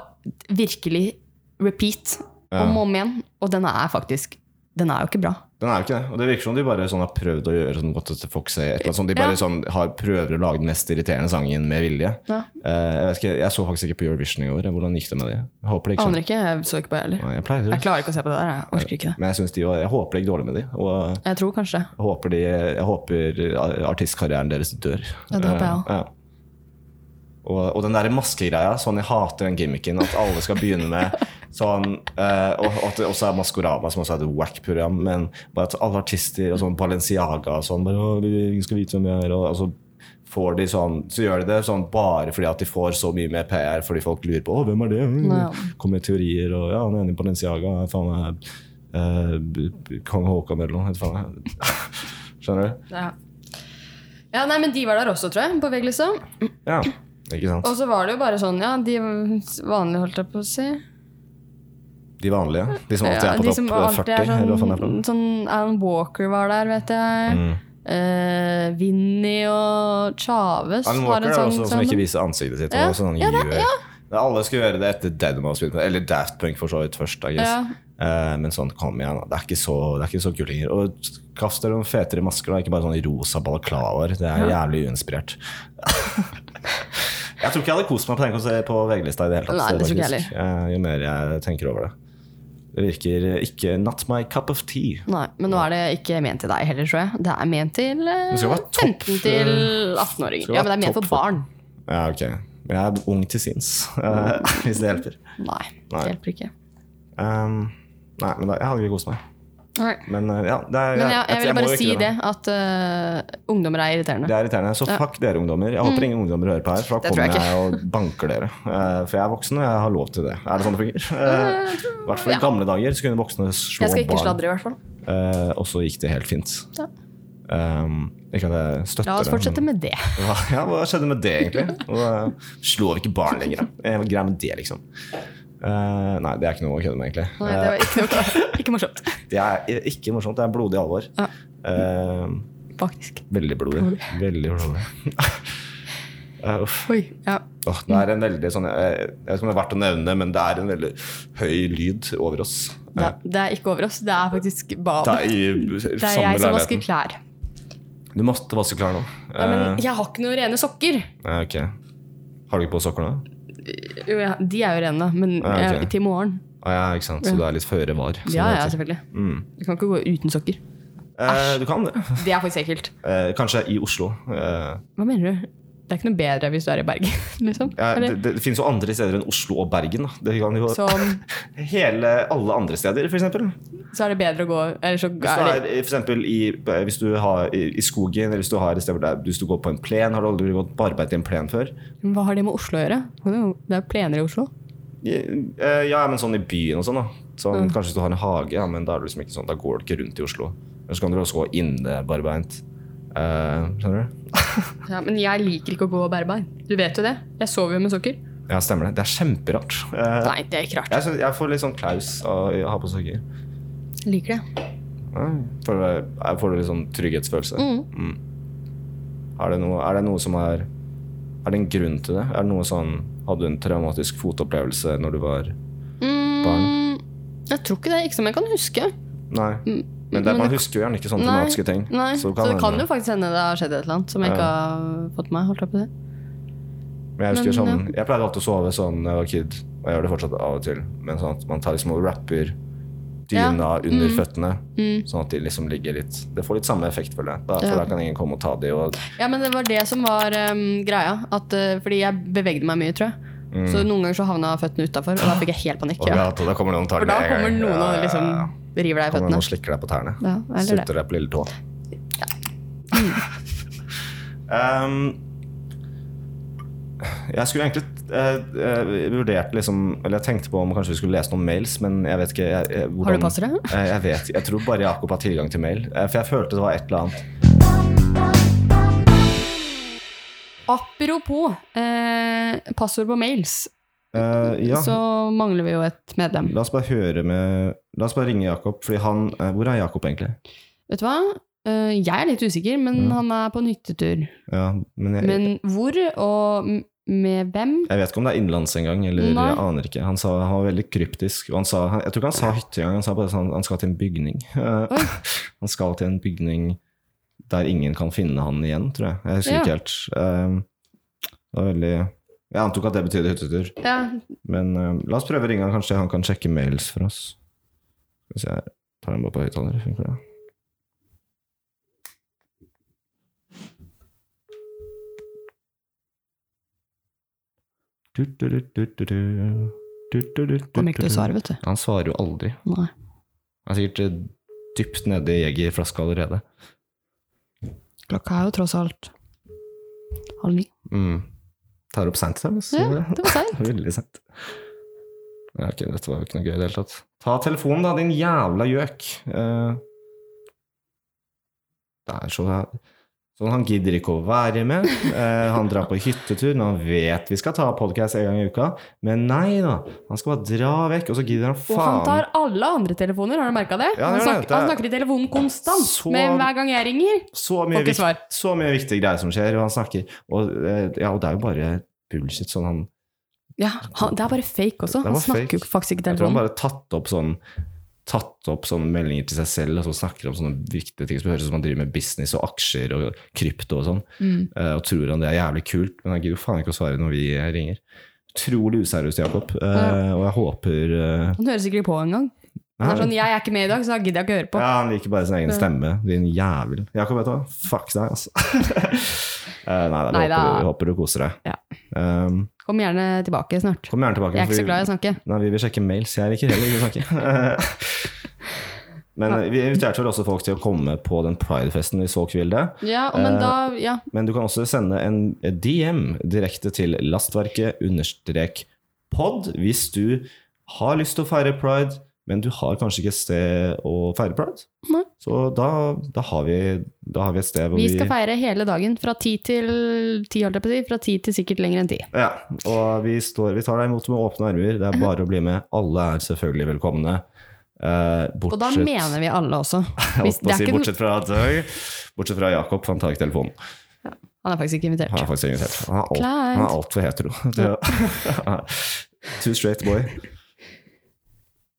Speaker 2: virkelig repeat
Speaker 1: Ja.
Speaker 2: om og om igjen, og den er faktisk Den er jo ikke bra.
Speaker 1: Den er jo ikke det. Og det virker som de bare sånn har prøvd å gjøre sånn godt etter folk sier et eller annet sånt. De
Speaker 2: Ja.
Speaker 1: bare sånn har, prøver å lage den mest irriterende sangen med vilje.
Speaker 2: Ja.
Speaker 1: Eh, jeg, vet ikke, jeg så faktisk ikke på Eurovision i år. Hvordan gikk det med de? Jeg håper det gikk sånn.
Speaker 2: Aner ikke. Jeg så ikke på det heller.
Speaker 1: Nei, Jeg pleier
Speaker 2: Jeg klarer ikke å se på det der. Jeg orker ikke det.
Speaker 1: Men jeg, synes de, var- jeg håper det gikk dårlig med de. Og jeg
Speaker 2: Jeg tror kanskje det.
Speaker 1: håper, de, jeg håper eh, artistkarrieren deres dør.
Speaker 2: Ja, det håper jeg også.
Speaker 1: Eh, ja. Og, og den der maskegreia. Sånn jeg hater den gimmicken at alle skal begynne med sånn eh, Og og at det også er Maskorama, som også er et wack-program. Men bare at alle artister og sånn Balenciaga og sånn bare, «Å, vi- Ingen skal vite hvem jeg er. Og, og så får de sånn, så gjør de det sånn bare fordi at de får så mye mer PR fordi folk lurer på Å, hvem er det?
Speaker 2: Nei.
Speaker 1: Kommer med teorier og ja, han er enig i Balenciaga. er Faen meg eh, b- b- kong Haakon eller noe. vet du faen jeg. Skjønner du?
Speaker 2: Ja. ja, nei, men de var der også, tror jeg, på VG-lista.
Speaker 1: Ja, ikke sant?
Speaker 2: Og så var det jo bare sånn, ja, de vanlige, holdt jeg på å si.
Speaker 1: De vanlige. De som alltid
Speaker 2: Ja,
Speaker 1: er på
Speaker 2: de
Speaker 1: topp
Speaker 2: som
Speaker 1: 40.
Speaker 2: alltid er
Speaker 1: eller hva faen det Mm. er for
Speaker 2: sånn,
Speaker 1: noe.
Speaker 2: sånn Alan Walker var der, vet jeg. Eh, Vinny og Chaves
Speaker 1: Alan
Speaker 2: har
Speaker 1: Walker
Speaker 2: en
Speaker 1: er
Speaker 2: sang
Speaker 1: også som
Speaker 2: sånn sammen.
Speaker 1: ikke viser ansiktet sitt.
Speaker 2: Ja.
Speaker 1: Og sånn
Speaker 2: Ja, det-
Speaker 1: gjør- Men Alle skal gjøre det etter Deadmau5, eller Daft Punk for så vidt først. I guess.
Speaker 2: Ja.
Speaker 1: Eh, men sånn, kom igjen, da. det er ikke så, det er ikke så gullinger. Og kast dere noen fetere masker, da. ikke bare sånne rosa balaklavaer. Det er jævlig uinspirert. jeg tror ikke jeg hadde kost meg på den konserten på VG-lista i det hele tatt.
Speaker 2: Nei, det tror ikke jeg
Speaker 1: faktisk. Eh, jo mer jeg tenker over det. Det virker ikke not my cup of tea.
Speaker 2: Nei, men nå er det ikke ment til deg heller, tror jeg. Det er ment til eh,
Speaker 1: Det skal være topp,
Speaker 2: 15 til
Speaker 1: eh,
Speaker 2: 18-åringer.
Speaker 1: skal
Speaker 2: Ja,
Speaker 1: være
Speaker 2: men det er ment
Speaker 1: topp
Speaker 2: for barn.
Speaker 1: Ja, ok. Men jeg er ung til sinns, eh, hvis det hjelper.
Speaker 2: Nei, det
Speaker 1: Nei.
Speaker 2: hjelper ikke.
Speaker 1: Um, nei, men da, jeg hadde ikke kost meg.
Speaker 2: Nei.
Speaker 1: Men eh, ja, det er,
Speaker 2: Men jeg, jeg ville
Speaker 1: må jo
Speaker 2: bare
Speaker 1: ikke
Speaker 2: si
Speaker 1: da.
Speaker 2: det, at eh, ungdommer er irriterende.
Speaker 1: Det er irriterende. Så fuck dere ungdommer. Jeg håper ingen ungdommer hører på her, for da
Speaker 2: Mm. Det tror
Speaker 1: kommer
Speaker 2: jeg
Speaker 1: jeg, og banker dere. Eh, for jeg er voksen, og jeg har lov til det. Er det sånn det fungerer? Eh, I hvert fall i
Speaker 2: ja.
Speaker 1: gamle dager så kunne voksne slå
Speaker 2: Jeg skal ikke
Speaker 1: barn,
Speaker 2: sladre, i hvert fall.
Speaker 1: eh, og så gikk det helt fint.
Speaker 2: Ja.
Speaker 1: Um, ikke at jeg støtter
Speaker 2: La oss fortsette med det.
Speaker 1: det. men- Hva- Ja, hva skjedde med det, egentlig? Og, eh, slår ikke barn lenger, da? Eh, Hva er greia med det, liksom? Eh, nei, det er ikke noe å kødde med, egentlig.
Speaker 2: Nei, det var ikke, noe, ikke morsomt,
Speaker 1: Det er ikke morsomt. Det er blodig alvor.
Speaker 2: Ja.
Speaker 1: Eh,
Speaker 2: faktisk.
Speaker 1: veldig blodig. Veldig blodig. Eh, uff.
Speaker 2: Oi, ja.
Speaker 1: Åh, det er en veldig sånn Jeg jeg vet ikke om det er verdt å nevne, det, men det er en veldig høy lyd over oss. Eh,
Speaker 2: Det, det er ikke over oss, det er faktisk
Speaker 1: Det
Speaker 2: badet.
Speaker 1: er i
Speaker 2: Det er
Speaker 1: samme
Speaker 2: jeg som
Speaker 1: leiligheten.
Speaker 2: vasker
Speaker 1: Eh.
Speaker 2: klær.
Speaker 1: Du måtte vaske klær nå.
Speaker 2: Nei, men jeg har ikke noen rene sokker.
Speaker 1: Eh, ok. Har du ikke på sokker nå?
Speaker 2: Jo, ja, de er jo rene, men
Speaker 1: Ja, Ah, ok.
Speaker 2: eh, til morgen.
Speaker 1: Å ja, ikke sant. Så du er litt føre var. som
Speaker 2: Ja,
Speaker 1: det
Speaker 2: ja,
Speaker 1: heter.
Speaker 2: selvfølgelig.
Speaker 1: Mm.
Speaker 2: Du kan ikke gå uten sokker.
Speaker 1: Eh, du kan det.
Speaker 2: Det er faktisk ekkelt.
Speaker 1: Eh, kanskje i Oslo. Eh,
Speaker 2: Hva mener du? Det er ikke noe bedre hvis du er i Bergen, liksom.
Speaker 1: ja,
Speaker 2: Eller?
Speaker 1: det, det finnes jo andre steder enn Oslo og Bergen. Da. Det kan jo
Speaker 2: Som,
Speaker 1: Hele, alle andre steder, for eksempel.
Speaker 2: så er det bedre å gå Eller så
Speaker 1: Hvis du
Speaker 2: er
Speaker 1: er,
Speaker 2: det
Speaker 1: for eksempel, i, hvis du har, i, i skogen, eller hvis du, har, et sted hvor det er- hvis du går på en plen Har du aldri gått på arbeid i en plen før?
Speaker 2: Men Hva har det med Oslo å gjøre? Det er jo plener i Oslo.
Speaker 1: Eh, Ja, men sånn i byen og sånn, da. Sånn, Kanskje hvis du har en hage, ja, men da, er det liksom ikke sånn, da går du ikke rundt i Oslo. Eller så kan du også gå inne barbeint. Eh, skjønner du?
Speaker 2: Ja, men jeg liker ikke å gå bærbeint. Du vet jo det. Jeg sover jo med sokker.
Speaker 1: Ja, stemmer det. Det er kjemperart. Eh,
Speaker 2: Nei, det er ikke rart.
Speaker 1: jeg, synes, jeg får litt sånn klaus av å ha på sokker.
Speaker 2: Liker det.
Speaker 1: Ja, Får du, jeg får du litt sånn trygghetsfølelse? Mm. Er, det noe, er det noe som er Er det en grunn til det? Er det noe sånn Hadde du en traumatisk fotopplevelse når du var
Speaker 2: Mm, jeg tror ikke det. Ikke som jeg kan huske.
Speaker 1: Nei. Men det,
Speaker 2: Mm. men
Speaker 1: man
Speaker 2: det-
Speaker 1: husker jo gjerne ikke sånne
Speaker 2: Nei,
Speaker 1: traumatiske ting.
Speaker 2: Nei, så, det
Speaker 1: hende-
Speaker 2: kan jo faktisk hende det har skjedd et eller annet som jeg ikke har fått med meg. Holdt jeg på å si.
Speaker 1: Men jeg husker
Speaker 2: Men,
Speaker 1: sånn Jeg pleide alltid å sove sånn da jeg var kid, og jeg gjør det fortsatt av og til, men sånn at man tar liksom og rapper dyna
Speaker 2: Ja.
Speaker 1: under
Speaker 2: Mm.
Speaker 1: føttene.
Speaker 2: Mm.
Speaker 1: Sånn at de liksom ligger litt Det får litt samme effekt, føler jeg. Da, for
Speaker 2: Ja.
Speaker 1: da kan ingen komme og ta de og
Speaker 2: Ja, men det var det som var ehm, greia. At, eh, fordi jeg bevegde meg mye, tror jeg.
Speaker 1: Mm.
Speaker 2: Så noen ganger så havna føttene utafor, og da fikk jeg helt panikk.
Speaker 1: Å,
Speaker 2: Ja.
Speaker 1: ja, da kommer noen og tar
Speaker 2: For
Speaker 1: det
Speaker 2: da
Speaker 1: med en
Speaker 2: kommer
Speaker 1: gang.
Speaker 2: noen
Speaker 1: Ja,
Speaker 2: og
Speaker 1: ja,
Speaker 2: liksom
Speaker 1: ja.
Speaker 2: river deg i
Speaker 1: Kommer noen
Speaker 2: føttene.
Speaker 1: og slikker deg på tærne.
Speaker 2: Ja, eller det.
Speaker 1: Sutter deg på lille tå. Um, jeg skulle egentlig eh, eh, vurdert liksom Eller jeg tenkte på om kanskje vi skulle lese noen mails, men jeg vet ikke jeg, jeg, hvordan,
Speaker 2: Har du passere?
Speaker 1: Eh, jeg vet Jeg tror bare Jakob har tilgang til mail. Eh, for jeg følte det var et eller annet.
Speaker 2: Apropos eh, passord på mails,
Speaker 1: Eh, ja.
Speaker 2: så mangler vi jo et medlem.
Speaker 1: La oss bare høre med La oss bare ringe Jakob, fordi han eh, Hvor er Jakob egentlig?
Speaker 2: Vet du hva? Eh, jeg er litt usikker, men
Speaker 1: Mm.
Speaker 2: han er på en hyttetur.
Speaker 1: Ja, men jeg,
Speaker 2: Men hvor og m- med hvem?
Speaker 1: jeg vet ikke om det er innenlands engang, eller
Speaker 2: Mm. Nei.
Speaker 1: jeg aner ikke. Han, sa, han var veldig kryptisk, og han sa han, Jeg tror ikke han sa hytte engang, han sa bare sånn Han skal til en bygning. Eh,
Speaker 2: Oi.
Speaker 1: han skal til en bygning der ingen kan finne han igjen, tror jeg. Jeg husker
Speaker 2: Ja.
Speaker 1: ikke helt. Eh, det var veldig Jeg antok at det betydde hyttetur,
Speaker 2: Ja,
Speaker 1: men eh, la oss prøve å ringe han, kanskje han kan sjekke mails for oss. Hvis jeg tar den bare på høyttaler, funker det?
Speaker 2: kommer
Speaker 1: Kommer
Speaker 2: ikke til å svare, vet du.
Speaker 1: Han svarer jo aldri.
Speaker 2: Nei.
Speaker 1: Han er sikkert eh, dypt nede i jegerflaska allerede.
Speaker 2: Klokka er jo tross alt halv ni.
Speaker 1: Mm. Tar opp seint,
Speaker 2: Ja,
Speaker 1: ja.
Speaker 2: det var seint.
Speaker 1: Veldig seint. Ja, ok, dette var jo ikke noe gøy i det hele tatt. Ta telefonen, da, din jævla gjøk. Eh, det er så Sånn, Han gidder ikke å være med. Eh, han drar på hyttetur når han vet vi skal ta podkast en gang i uka. Men nei da, han skal bare dra vekk, og så gidder han
Speaker 2: Og han
Speaker 1: faen
Speaker 2: tar alle andre telefoner, har du merka det?
Speaker 1: Ja,
Speaker 2: han,
Speaker 1: det gjør det.
Speaker 2: snakker, han snakker i telefonen konstant,
Speaker 1: Så-
Speaker 2: men hver gang jeg ringer,
Speaker 1: så mye,
Speaker 2: får ikke
Speaker 1: vikt,
Speaker 2: svar.
Speaker 1: så mye viktige greier som skjer, og han snakker og, eh, Ja, og det er jo bare bullshit. Sånn han
Speaker 2: Ja, han, det er bare fake også.
Speaker 1: Det
Speaker 2: Han
Speaker 1: var
Speaker 2: snakker jo
Speaker 1: fake.
Speaker 2: faktisk ikke i
Speaker 1: Jeg tror han
Speaker 2: telefonen.
Speaker 1: bare har tatt opp sånn Tatt opp sånne meldinger til seg selv og så snakker om sånne viktige ting som høres ut som han driver med business og aksjer og krypto og sånn,
Speaker 2: Mm.
Speaker 1: eh, og tror han det er jævlig kult, men han gidder jo faen ikke å svare når vi eh, ringer. Utrolig useriøst, Jakob, eh,
Speaker 2: Ja.
Speaker 1: og jeg håper eh,
Speaker 2: Han hører sikkert på engang. Han
Speaker 1: nei,
Speaker 2: er sånn 'jeg er ikke med i dag, så da gidder jeg ikke å høre på'.
Speaker 1: ja, han liker bare sin egen
Speaker 2: Ja.
Speaker 1: stemme, din jævel. Jakob, vet du hva? Fuck deg, altså. Eh, nei, da, vi
Speaker 2: Neida.
Speaker 1: håper, vi håper du koser deg.
Speaker 2: Ja.
Speaker 1: Um,
Speaker 2: Kom gjerne tilbake snart.
Speaker 1: kom gjerne tilbake.
Speaker 2: Jeg er
Speaker 1: for
Speaker 2: ikke
Speaker 1: vi-
Speaker 2: så glad i å snakke.
Speaker 1: Nei, vi vil sjekke mails. Jeg liker heller ikke å snakke. Men eh, vi inviterte vel også folk til å komme på den pridefesten hvis folk vil det.
Speaker 2: Ja, og men
Speaker 1: Eh,
Speaker 2: da Ja.
Speaker 1: Men du kan også sende en DM direkte til lastverket understrek pod hvis du har lyst til å feire pride, men du har kanskje ikke et sted å feire pride.
Speaker 2: Nei.
Speaker 1: Så da, da, har vi, da har vi et sted hvor
Speaker 2: Vi
Speaker 1: vi,
Speaker 2: skal feire hele dagen. Fra ti til ti, holdt jeg på å si. Fra ti til sikkert lenger enn ti.
Speaker 1: Ja, og vi, står, vi tar deg imot med åpne armer. Det er bare å bli med. Alle er selvfølgelig velkomne. Eh,
Speaker 2: Og da
Speaker 1: bortsett-
Speaker 2: mener vi alle også.
Speaker 1: Jeg
Speaker 2: Hvis,
Speaker 1: holdt på
Speaker 2: det
Speaker 1: å
Speaker 2: er
Speaker 1: si,
Speaker 2: ikke,
Speaker 1: bortsett fra Døy. Bortsett fra Jakob, for han tar ikke telefonen.
Speaker 2: han er faktisk ikke invitert.
Speaker 1: Han er faktisk invitert. Han er alt-
Speaker 2: Kleint.
Speaker 1: han er altfor hetero. Det- Too straight boy.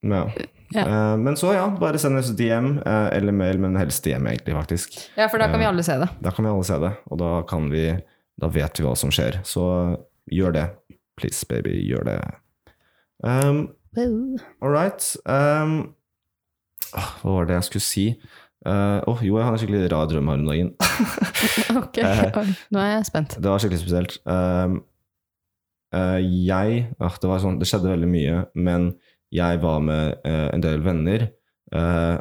Speaker 1: Ja.
Speaker 2: Ja.
Speaker 1: Eh, Men så, ja. Bare send oss DM eh, eller mail, men helst DM, egentlig, faktisk.
Speaker 2: Ja, for da
Speaker 1: Eh.
Speaker 2: kan vi alle se det.
Speaker 1: Da kan vi alle se det, og da kan vi Da vet vi hva som skjer. Så gjør det. Please, baby, gjør det. Um, All right. Um, ah, hva var det jeg skulle si? Eh, Åh, jo, jeg har en skikkelig rar drøm her om dagen.
Speaker 2: Ok,
Speaker 1: Eh.
Speaker 2: oi, nå er jeg spent.
Speaker 1: Det var skikkelig spesielt. Um, eh, jeg ah, det, var sånn, det skjedde veldig mye, men jeg var med eh, en del venner. eh,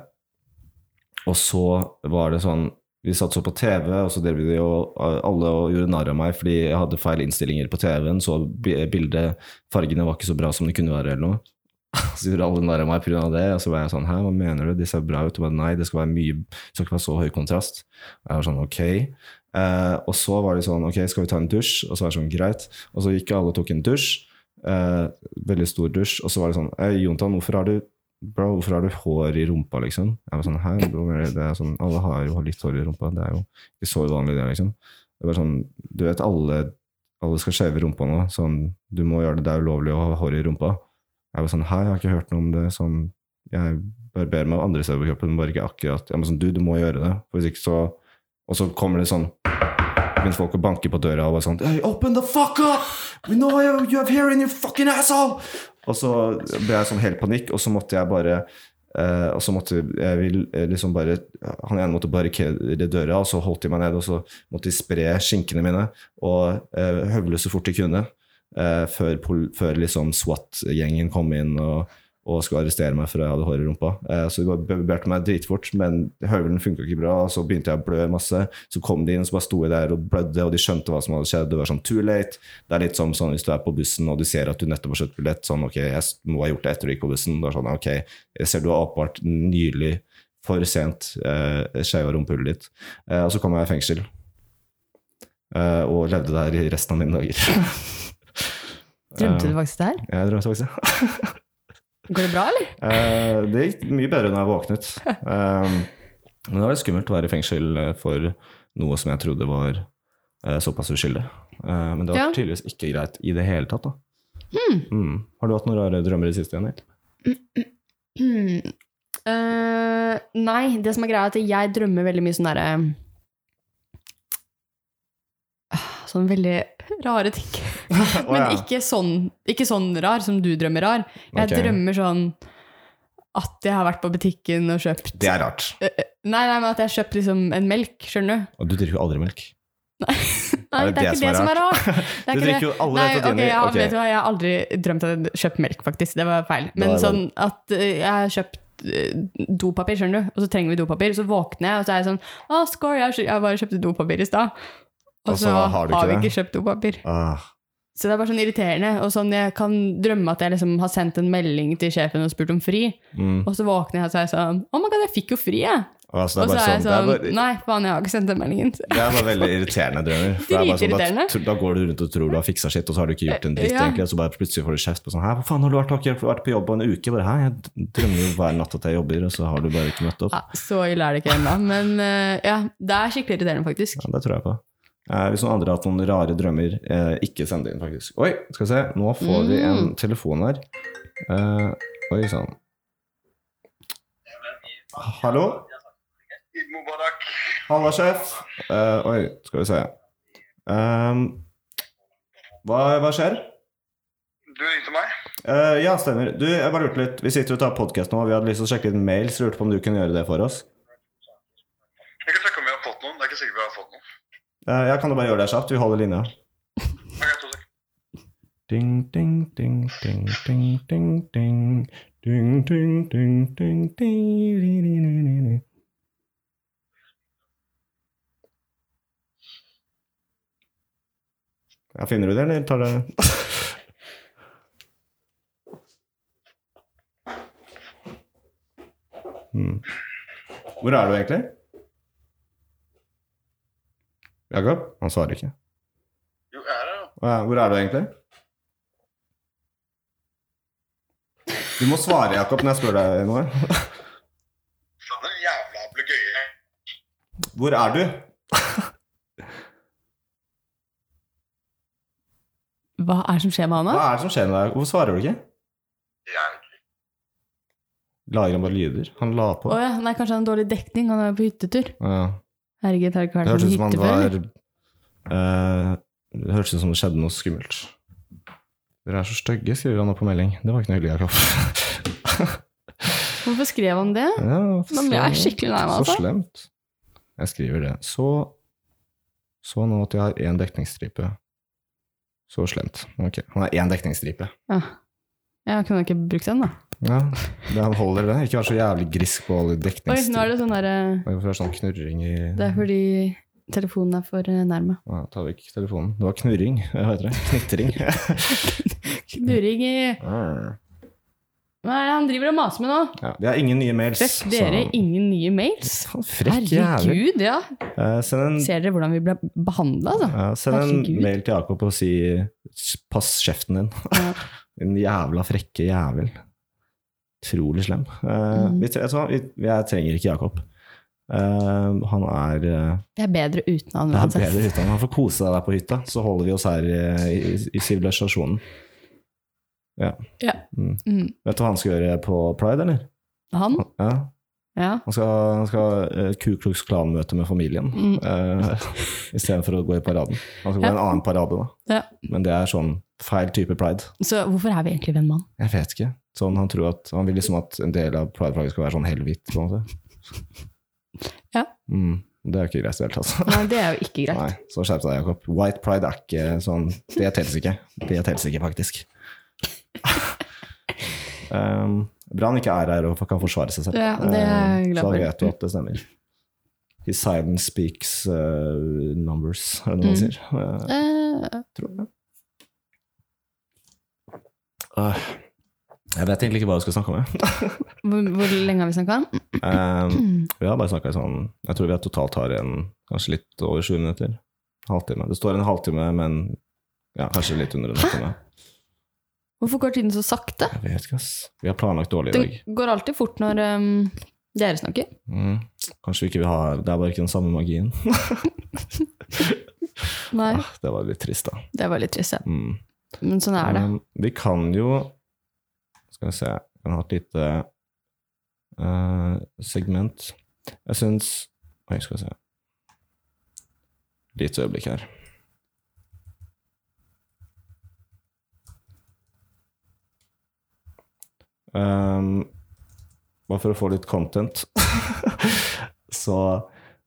Speaker 1: og så var det sånn Vi satt så på TV, og så drev vi jo eh, alle og gjorde narr av meg fordi jeg hadde feil innstillinger på TV-en, så bi- bildet, fargene var ikke så bra som det kunne være, eller noe. Så gjorde alle narr av meg pga. det, og så var jeg sånn Hæ, hva mener du? De ser bra ut. Og bare nei, det skal være mye Det skal ikke være så høy kontrast. Og jeg var sånn ok. Eh, og så var det sånn, ok, skal vi ta en dusj? Og så var det sånn, greit. Og så gikk alle og tok en dusj. Eh, veldig stor dusj. Og så var det sånn, «Ei, Jontan, hvorfor har du Bro, hvorfor har du hår i rumpa, liksom? Jeg var sånn, hæ, hva mener du?» det er sånn, alle har jo litt hår i rumpa, det er jo ikke så vanlig det, liksom. Det var sånn, du vet, alle, alle skal skjeve rumpa nå, sånn, du må gjøre det, det er ulovlig å ha hår i rumpa. Jeg var sånn, hæ, jeg har ikke hørt noe om det, sånn, jeg barberer meg andre steder på kroppen, men bare ikke akkurat. Jeg var sånn, du, du må gjøre det, for hvis ikke så, og så kommer det sånn Begynner folk å banke på døra og bare sånn hey, Open the fuck up! We know you, you have hair in your fucking asshole! Og så ble jeg sånn helt panikk, og så måtte jeg bare Eh, og så måtte jeg vil, eh, liksom bare Han ene måtte barrikadere døra, og så holdt de meg ned. Og så måtte de spre skinkene mine og eh, høvle så fort de kunne. eh, før pol- før liksom SWAT-gjengen kom inn og, og skulle arrestere meg for jeg hadde hår i rumpa. Eh, så de bare bør- bærte meg dritfort, men høvelen funka ikke bra. og Så begynte jeg å blø masse. Så kom de inn, og så bare sto jeg der og blødde, og de skjønte hva som hadde skjedd. Det var sånn too late. Det er litt som sånn, hvis du er på bussen og du ser at du nettopp har kjøpt billett, sånn ok, jeg s- må ha gjort det etter du gikk på bussen. Det er sånn, ok, jeg ser du har oppvart nylig for sent eh, skeiva rumpehullet ditt. Eh, og så kom jeg i fengsel. Eh, og levde der i resten av mine dager.
Speaker 2: Drømte
Speaker 1: Eh,
Speaker 2: du faktisk det her?
Speaker 1: Jeg drømte faktisk det.
Speaker 2: Går det bra, eller?
Speaker 1: Eh, det gikk mye bedre da jeg våknet. Eh, men det var litt skummelt å være i fengsel eh, for noe som jeg trodde var eh, såpass uskyldig. Eh, men det var
Speaker 2: Ja.
Speaker 1: tydeligvis ikke greit i det hele tatt. da. Mm. Har du hatt noen rare drømmer i det siste, Jenny?
Speaker 2: Hmm. Eh, nei, det som er greia er at jeg drømmer veldig mye sånn derre Ah, Sånn veldig rare ting. Men ikke, sånn, ikke sånn rar som du drømmer rar. Jeg
Speaker 1: Ok.
Speaker 2: drømmer sånn at jeg har vært på butikken og kjøpt
Speaker 1: Det er rart.
Speaker 2: Eh, Nei, nei, men at jeg har kjøpt liksom en melk, skjønner du?
Speaker 1: Og du drikker jo aldri melk.
Speaker 2: Nei,
Speaker 1: Er
Speaker 2: det,
Speaker 1: det
Speaker 2: er
Speaker 1: det
Speaker 2: ikke det som er rart. Det
Speaker 1: Du
Speaker 2: er ikke det.
Speaker 1: drikker jo alle
Speaker 2: Nei,
Speaker 1: dette
Speaker 2: ok,
Speaker 1: dine
Speaker 2: ja,
Speaker 1: ok.
Speaker 2: vet du hva, jeg har aldri drømt at jeg hadde kjøpt melk, faktisk. Det var feil. Men
Speaker 1: Da er det-
Speaker 2: sånn at eh, jeg har kjøpt eh, dopapir, skjønner du, og så trenger vi dopapir. Så våkner jeg, og så er jeg sånn Å, skål, jeg, har kjø- jeg bare kjøpte dopapir i stad. Og så har,
Speaker 1: du ikke
Speaker 2: vi
Speaker 1: det.
Speaker 2: ikke kjøpt dopapir.
Speaker 1: Ah,
Speaker 2: Så det er bare sånn irriterende. Og sånn, jeg kan drømme at jeg liksom har sendt en melding til sjefen og spurt om fri,
Speaker 1: mm.
Speaker 2: og så våkner jeg og så er jeg sånn Å, my god, jeg fikk jo fri, jeg.
Speaker 1: Ah, så
Speaker 2: Og
Speaker 1: det
Speaker 2: så
Speaker 1: er
Speaker 2: er
Speaker 1: bare
Speaker 2: jeg
Speaker 1: sånn, det er
Speaker 2: sånn
Speaker 1: bare,
Speaker 2: Nei, faen, jeg har ikke sendt den meldingen.
Speaker 1: det er bare veldig irriterende drømmer. For det er bare sånn, da,
Speaker 2: Dritirriterende.
Speaker 1: tro- da går du rundt og tror du har fiksa shit, og så har du ikke gjort en dritt,
Speaker 2: Ja.
Speaker 1: egentlig. Og så bare plutselig får du kjeft på sånn Hæ, hva faen har du vært, har ikke vært på jobb på en uke? Bare, Hæ, jeg drømmer jo hver natt at jeg jobber, og så har du bare ikke møtt opp.
Speaker 2: Ja, så ille er det ikke ennå, men eh, ja, det er skikkelig irriterende, faktisk.
Speaker 1: Ja, det tror jeg på. Eh, hvis noen andre har hatt noen rare drømmer, eh, ikke send det inn, faktisk. Oi, skal vi se. Nå får vi en
Speaker 2: Mm.
Speaker 1: telefon her. Eh, oi sann. Hallo?
Speaker 3: Id Mubarak.
Speaker 1: Halla, sjef. Eh, oi, skal vi se. Ehm, hva, hva skjer?
Speaker 3: Du ringte meg?
Speaker 1: Eh, ja, stemmer. Du, jeg bare lurte litt. Vi sitter og tar podkast nå, og vi hadde lyst til å sjekke litt mail, så jeg lurte på om du kunne gjøre det for oss.
Speaker 3: Jeg kan sjekke om vi har fått noen. Det er ikke sikkert vi har fått noen.
Speaker 1: Eh, jeg kan jo bare gjøre det kjapt. Vi holder linja.
Speaker 3: Ok, to sek.
Speaker 1: Ding, ding, ding, ding, ding, ding, ding. Ding, ding, ding, ding, ding, ding, ding, ding, ding. Ja, finner du det, eller tar det hmm. Hvor er du egentlig? Jakob? Han svarer ikke.
Speaker 3: Jo, jeg er her, jo.
Speaker 1: Hva er- Hvor er du egentlig? Du må svare, Jakob, når jeg spør deg noe.
Speaker 3: Sånn en jævla ablegøye.
Speaker 1: Hvor er du?
Speaker 2: Hva er det som skjer med han
Speaker 1: Hva
Speaker 2: nå?
Speaker 1: er det som skjer med deg? Hvorfor svarer du ikke?
Speaker 3: Jeg
Speaker 1: Lager han bare lyder? Han la på.
Speaker 2: Å ja, nei, kanskje han har dårlig dekning, han er på hyttetur.
Speaker 1: Ja.
Speaker 2: Herregud, har det ikke
Speaker 1: Det
Speaker 2: vært
Speaker 1: hørtes
Speaker 2: på
Speaker 1: ut som
Speaker 2: hytte
Speaker 1: han
Speaker 2: før?
Speaker 1: var
Speaker 2: eller?
Speaker 1: eh, Det hørtes ut som det skjedde noe skummelt. Dere er så stygge, skriver han nå på melding. Det var ikke noe hyggelig, Jakob.
Speaker 2: Hvorfor skrev han det?
Speaker 1: Ja,
Speaker 2: Nå ble jeg skikkelig lei meg,
Speaker 1: Så
Speaker 2: altså.
Speaker 1: slemt. Jeg skriver det. Så, så nå at jeg har én dekningsstripe. Så slemt. Ok, han har én dekningsstripe.
Speaker 2: Ja. Jeg kunne ikke brukt den, da.
Speaker 1: Ja, det holder det. Ikke vær så jævlig grisk på alle
Speaker 2: Oi, nå er
Speaker 1: dekningsstriper.
Speaker 2: det sånn derre
Speaker 1: Hvorfor er det sånn knurring i
Speaker 2: Det er fordi telefonen er for eh, nærme.
Speaker 1: ja, Ta vekk telefonen. Det var knurring. Hva heter det? Knitring.
Speaker 2: Knurring i Hva er det han driver og maser med nå?
Speaker 1: ja, vi har ingen nye mails.
Speaker 2: Fikk dere ingen nye mails?
Speaker 1: Faen, frekk jævel.
Speaker 2: Herregud, ja.
Speaker 1: Eh, send en
Speaker 2: Ser dere hvordan vi ble behandla, altså?
Speaker 1: Ja, send en
Speaker 2: Herregud.
Speaker 1: mail til Jakob og si "S- 'pass kjeften din'.
Speaker 2: Ja.
Speaker 1: Din jævla frekke jævel. Utrolig slem. Eh,
Speaker 2: Mhm.
Speaker 1: vi, tre- vet du hva? vi, jeg trenger ikke Jakob. Eh, han er eh,
Speaker 2: Det er bedre uten han
Speaker 1: det er
Speaker 2: uansett.
Speaker 1: bedre hytta. Han får kose seg der på hytta, så holder vi oss her eh, i, i sivilisasjonen. Ja.
Speaker 2: Ja.
Speaker 1: Mm.
Speaker 2: Mm.
Speaker 1: Vet du hva han skal gjøre på pride, eller?
Speaker 2: Han?
Speaker 1: Ja.
Speaker 2: Ja.
Speaker 1: Han skal, han skal ha eh, Ku Klux Klan-møte med familien
Speaker 2: Mm.
Speaker 1: eh, istedenfor å gå i paraden. Han skal gå i en
Speaker 2: Ja.
Speaker 1: annen parade, da.
Speaker 2: Ja.
Speaker 1: Men det er sånn feil type pride.
Speaker 2: Så hvorfor er vi egentlig venn mann?
Speaker 1: Jeg vet ikke. Sånn han, tror at, han vil liksom at en del av pride-flagget skal være sånn helhvitt. på en måte.
Speaker 2: Ja.
Speaker 1: Mm. Det er jo ikke greit i det hele tatt. altså.
Speaker 2: Nei, det er jo ikke greit.
Speaker 1: Nei, så skjerp deg, Jakob. White pride er ikke sånn Det telles ikke. Det telles ikke, faktisk. um, bra han ikke er her og kan forsvare seg selv.
Speaker 2: Ja, det er jeg
Speaker 1: Um,
Speaker 2: glad
Speaker 1: så
Speaker 2: for.
Speaker 1: da vet du at det stemmer. His silence speaks uh, numbers, er det noe
Speaker 2: Mm.
Speaker 1: man sier? Uh,
Speaker 2: Eh,
Speaker 1: tror jeg. Uh, jeg vet egentlig ikke hva vi skal snakke om. jeg.
Speaker 2: hvor, hvor lenge har vi snakka?
Speaker 1: Um, vi har bare snakka i sånn Jeg tror vi har totalt har en kanskje litt over 20 minutter. Halvtime. Det står en halvtime, men ja, kanskje litt under en halvtime.
Speaker 2: Hvorfor går tiden så sakte?
Speaker 1: Jeg vet ikke, ass. Vi har planlagt dårlig i dag.
Speaker 2: Det går alltid fort når ehm, dere snakker.
Speaker 1: Mm. Kanskje vi ikke vil ha Det er bare ikke den samme magien.
Speaker 2: Nei,
Speaker 1: Ah, Det var litt trist, da.
Speaker 2: det var litt trist. ja.
Speaker 1: Mm.
Speaker 2: Men sånn er det.
Speaker 1: Um, vi kan jo Skal vi se Vi kan ha et lite eh, segment. Jeg syns Oi, skal vi se. Lite øyeblikk her. Um, bare for å få litt content, så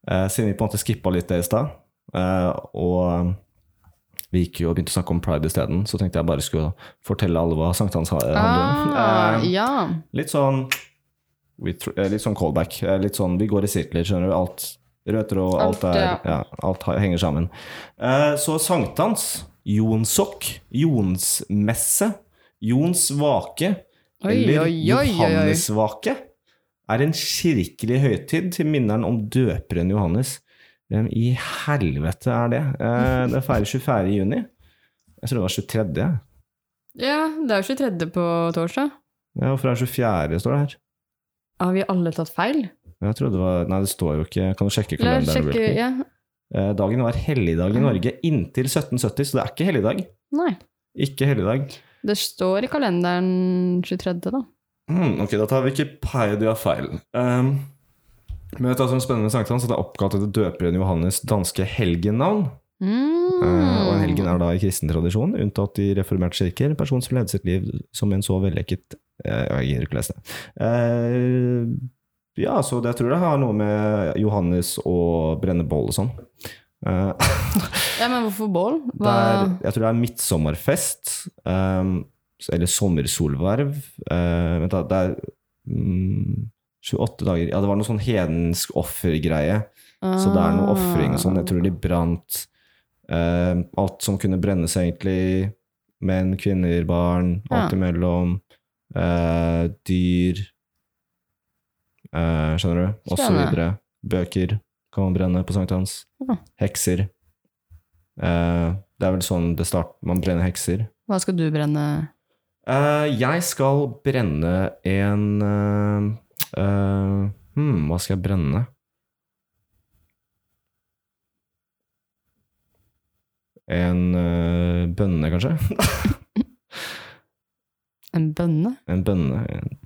Speaker 1: eh, siden vi på en måte skippa litt det i stad, eh, og vi gikk jo og begynte å snakke om pride isteden, så tenkte jeg bare skulle fortelle alle hva sankthans ha- handler om.
Speaker 2: Ah,
Speaker 1: Eh,
Speaker 2: ja.
Speaker 1: litt sånn we tr- eh, Litt sånn callback. eh, Litt sånn vi går i sirkler, skjønner du. Alt rød tråd, alt,
Speaker 2: Alt,
Speaker 1: er,
Speaker 2: ja.
Speaker 1: ja, alt ha- henger sammen. Eh, så sankthans, jonsokk, jonsmesse, Jons vake
Speaker 2: Oi,
Speaker 1: eller
Speaker 2: oi, oi, oi, oi.
Speaker 1: Johannesvake er en kirkelig høytid til minneren om døperen Johannes. Hvem i helvete er det? Eh, det feirer 24. juni. Jeg tror det var 23. jeg.
Speaker 2: Ja, det er jo 23. på torsdag.
Speaker 1: Ja, hvorfor er det 24. står det her?
Speaker 2: Har vi alle tatt feil?
Speaker 1: Jeg trodde det var Nei, det står jo ikke. Kan du sjekke
Speaker 2: La
Speaker 1: kalenderen?
Speaker 2: oss sjekke
Speaker 1: Wilton?
Speaker 2: ja.
Speaker 1: Eh, Dagen var helligdag i Norge inntil 1770, så det er ikke helligdag.
Speaker 2: Nei.
Speaker 1: Ikke helligdag.
Speaker 2: Det står i kalenderen 23., da.
Speaker 1: Mm, ok, da tar Wikipedia feil. Um, men vet du hva som er spennende med sankthans? At det er oppkalt etter døperen Johannes' danske helgennavn.
Speaker 2: Mm.
Speaker 1: Eh, Og helgen er da i kristen tradisjon, unntatt i reformerte kirker, en person som levde sitt liv som en så vellykket eh, Jeg gidder ikke lese det. Eh, ja, så det tror jeg har noe med Johannes og brenne bål og sånn. Eh,
Speaker 2: Ja, men hvorfor bål?
Speaker 1: det
Speaker 2: Hva...
Speaker 1: er, jeg tror det er midtsommerfest, eh, så- eller sommersolverv. Eh, vent, da. Det er mm, 28 dager Ja, det var noe sånn hedensk offergreie. Så det
Speaker 2: Ah.
Speaker 1: er noe ofring og sånn. Jeg tror de brant eh, alt som kunne brennes, egentlig. Menn, kvinner, barn, alt
Speaker 2: Ja.
Speaker 1: imellom. Eh, dyr eh, Skjønner du? Og så
Speaker 2: Spennende.
Speaker 1: videre. Bøker kan man brenne på sankthans.
Speaker 2: Ja.
Speaker 1: Hekser. Eh, det er vel sånn det starter. Man brenner hekser.
Speaker 2: Hva skal du brenne?
Speaker 1: Eh, jeg skal brenne en eh, eh, hmm, Hva skal jeg brenne? En eh, bønne, kanskje?
Speaker 2: En bønne?
Speaker 1: En bønne. En,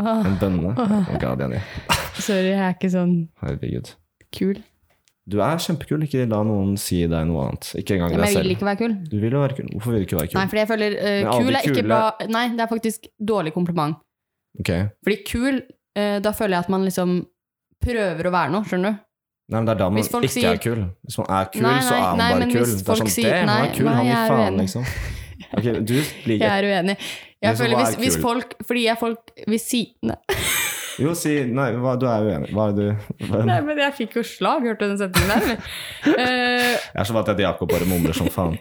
Speaker 2: Åh,
Speaker 1: en bønne. Oh God, Jenny.
Speaker 2: Ah, sorry, jeg er ikke sånn
Speaker 1: Herregud.
Speaker 2: kul.
Speaker 1: Du er kjempekul. Ikke la noen si deg noe annet. Ikke engang
Speaker 2: Ja, men
Speaker 1: deg
Speaker 2: jeg
Speaker 1: selv.
Speaker 2: vil ikke være kul.
Speaker 1: Du vil jo være kul. Hvorfor vil du ikke være
Speaker 2: Nei,
Speaker 1: kul?
Speaker 2: fordi jeg føler eh,
Speaker 1: Men alle
Speaker 2: kul
Speaker 1: de
Speaker 2: er ikke
Speaker 1: kule-
Speaker 2: bra Nei, det er faktisk dårlig kompliment.
Speaker 1: Ok.
Speaker 2: Fordi kul, eh, da føler jeg at man liksom prøver å være noe, skjønner du?
Speaker 1: Nei, men Det er da man
Speaker 2: Hvis folk
Speaker 1: ikke
Speaker 2: sier-
Speaker 1: er kul. Hvis man er kul,
Speaker 2: Nei,
Speaker 1: så
Speaker 2: nei,
Speaker 1: er man
Speaker 2: nei,
Speaker 1: bare
Speaker 2: men
Speaker 1: kul.
Speaker 2: hvis
Speaker 1: Det
Speaker 2: folk
Speaker 1: er sånn,
Speaker 2: sier-
Speaker 1: damn, han
Speaker 2: nei,
Speaker 1: er kul,
Speaker 2: nei,
Speaker 1: han
Speaker 2: jeg
Speaker 1: gir
Speaker 2: er
Speaker 1: faen,
Speaker 2: uenig.
Speaker 1: liksom. Ok, du liker
Speaker 2: Jeg er uenig. Jeg
Speaker 1: Men så
Speaker 2: føler
Speaker 1: hva
Speaker 2: hvis,
Speaker 1: er
Speaker 2: hvis
Speaker 1: kul?
Speaker 2: folk Fordi jeg folk Hvis si... Nei,
Speaker 1: Jo, si Nei, hva, du er uenig. Hva er du
Speaker 2: nei,
Speaker 1: Jeg
Speaker 2: men jeg fikk jo slag, hørte du den setningen der? eller? Eh,
Speaker 1: er så vant til at Jakob bare mumler som faen.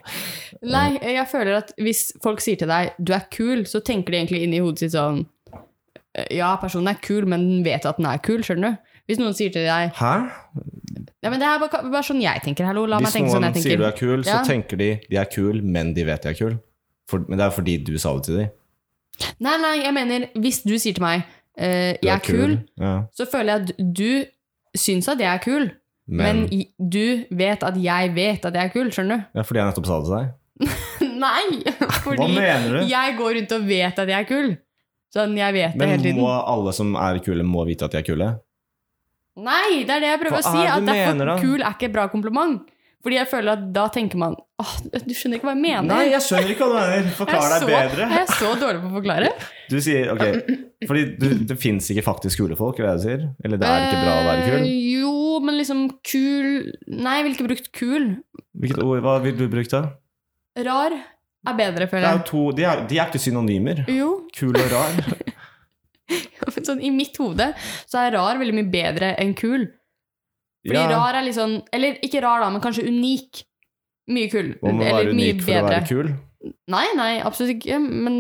Speaker 2: Nei, jeg føler at hvis folk sier til deg 'du er kul', så tenker de egentlig inni hodet sitt sånn Ja, personen er kul, men den vet at den er kul, skjønner du? Hvis noen sier til deg
Speaker 1: Hæ?
Speaker 2: Ja, men det er bare, bare sånn jeg tenker, hallo, la meg
Speaker 1: Hvis
Speaker 2: tenke sånn
Speaker 1: noen
Speaker 2: jeg tenker.
Speaker 1: sier du er kul, så
Speaker 2: Ja.
Speaker 1: tenker de de er kul, men de vet de er kul. For, men det er fordi du sa det til dem.
Speaker 2: Nei, nei, jeg mener, hvis du sier til meg eh, 'jeg er kul',
Speaker 1: Ja.
Speaker 2: så føler jeg at du syns at jeg er kul, men,
Speaker 1: Men,
Speaker 2: i- du vet at jeg vet at jeg er kul, skjønner
Speaker 1: ja, fordi jeg nettopp sa det til deg.
Speaker 2: du? nei!
Speaker 1: Hva
Speaker 2: Fordi
Speaker 1: mener du?
Speaker 2: jeg går rundt og vet at jeg er kul.
Speaker 1: Men
Speaker 2: tiden.
Speaker 1: må alle som er kule, må vite at de er kule?
Speaker 2: Nei, det er det jeg prøver
Speaker 1: Hva
Speaker 2: å si.
Speaker 1: er det
Speaker 2: At
Speaker 1: du
Speaker 2: derfor
Speaker 1: mener, da?
Speaker 2: kul er ikke et bra kompliment. Fordi jeg føler at da tenker man Åh, du skjønner ikke hva jeg mener.
Speaker 1: Nei, jeg skjønner ikke hva du mener. Forklar
Speaker 2: jeg
Speaker 1: deg
Speaker 2: er så-
Speaker 1: bedre.
Speaker 2: Jeg er så dårlig på å forklare.
Speaker 1: Du sier, ok Fordi du, det fins ikke faktisk kule folk, er det du sier? Eller det er ikke bra å være kul?
Speaker 2: Eh, jo, men liksom kul Nei, jeg ville ikke brukt kul.
Speaker 1: Hvilket ord, Hva vil du bruke da?
Speaker 2: Rar er
Speaker 1: Det er
Speaker 2: bedre, føler
Speaker 1: jo to, de, er, de er ikke synonymer.
Speaker 2: jeg. Jo,
Speaker 1: Kul og rar.
Speaker 2: men sånn i mitt hode så er rar veldig mye bedre enn kul. Fordi
Speaker 1: Ja,
Speaker 2: rar er litt sånn Eller ikke rar, da, men kanskje unik. Mye kul.
Speaker 1: Man må
Speaker 2: eller
Speaker 1: være unik
Speaker 2: mye
Speaker 1: for å
Speaker 2: bedre.
Speaker 1: være kul.
Speaker 2: Nei, nei, absolutt ikke. Men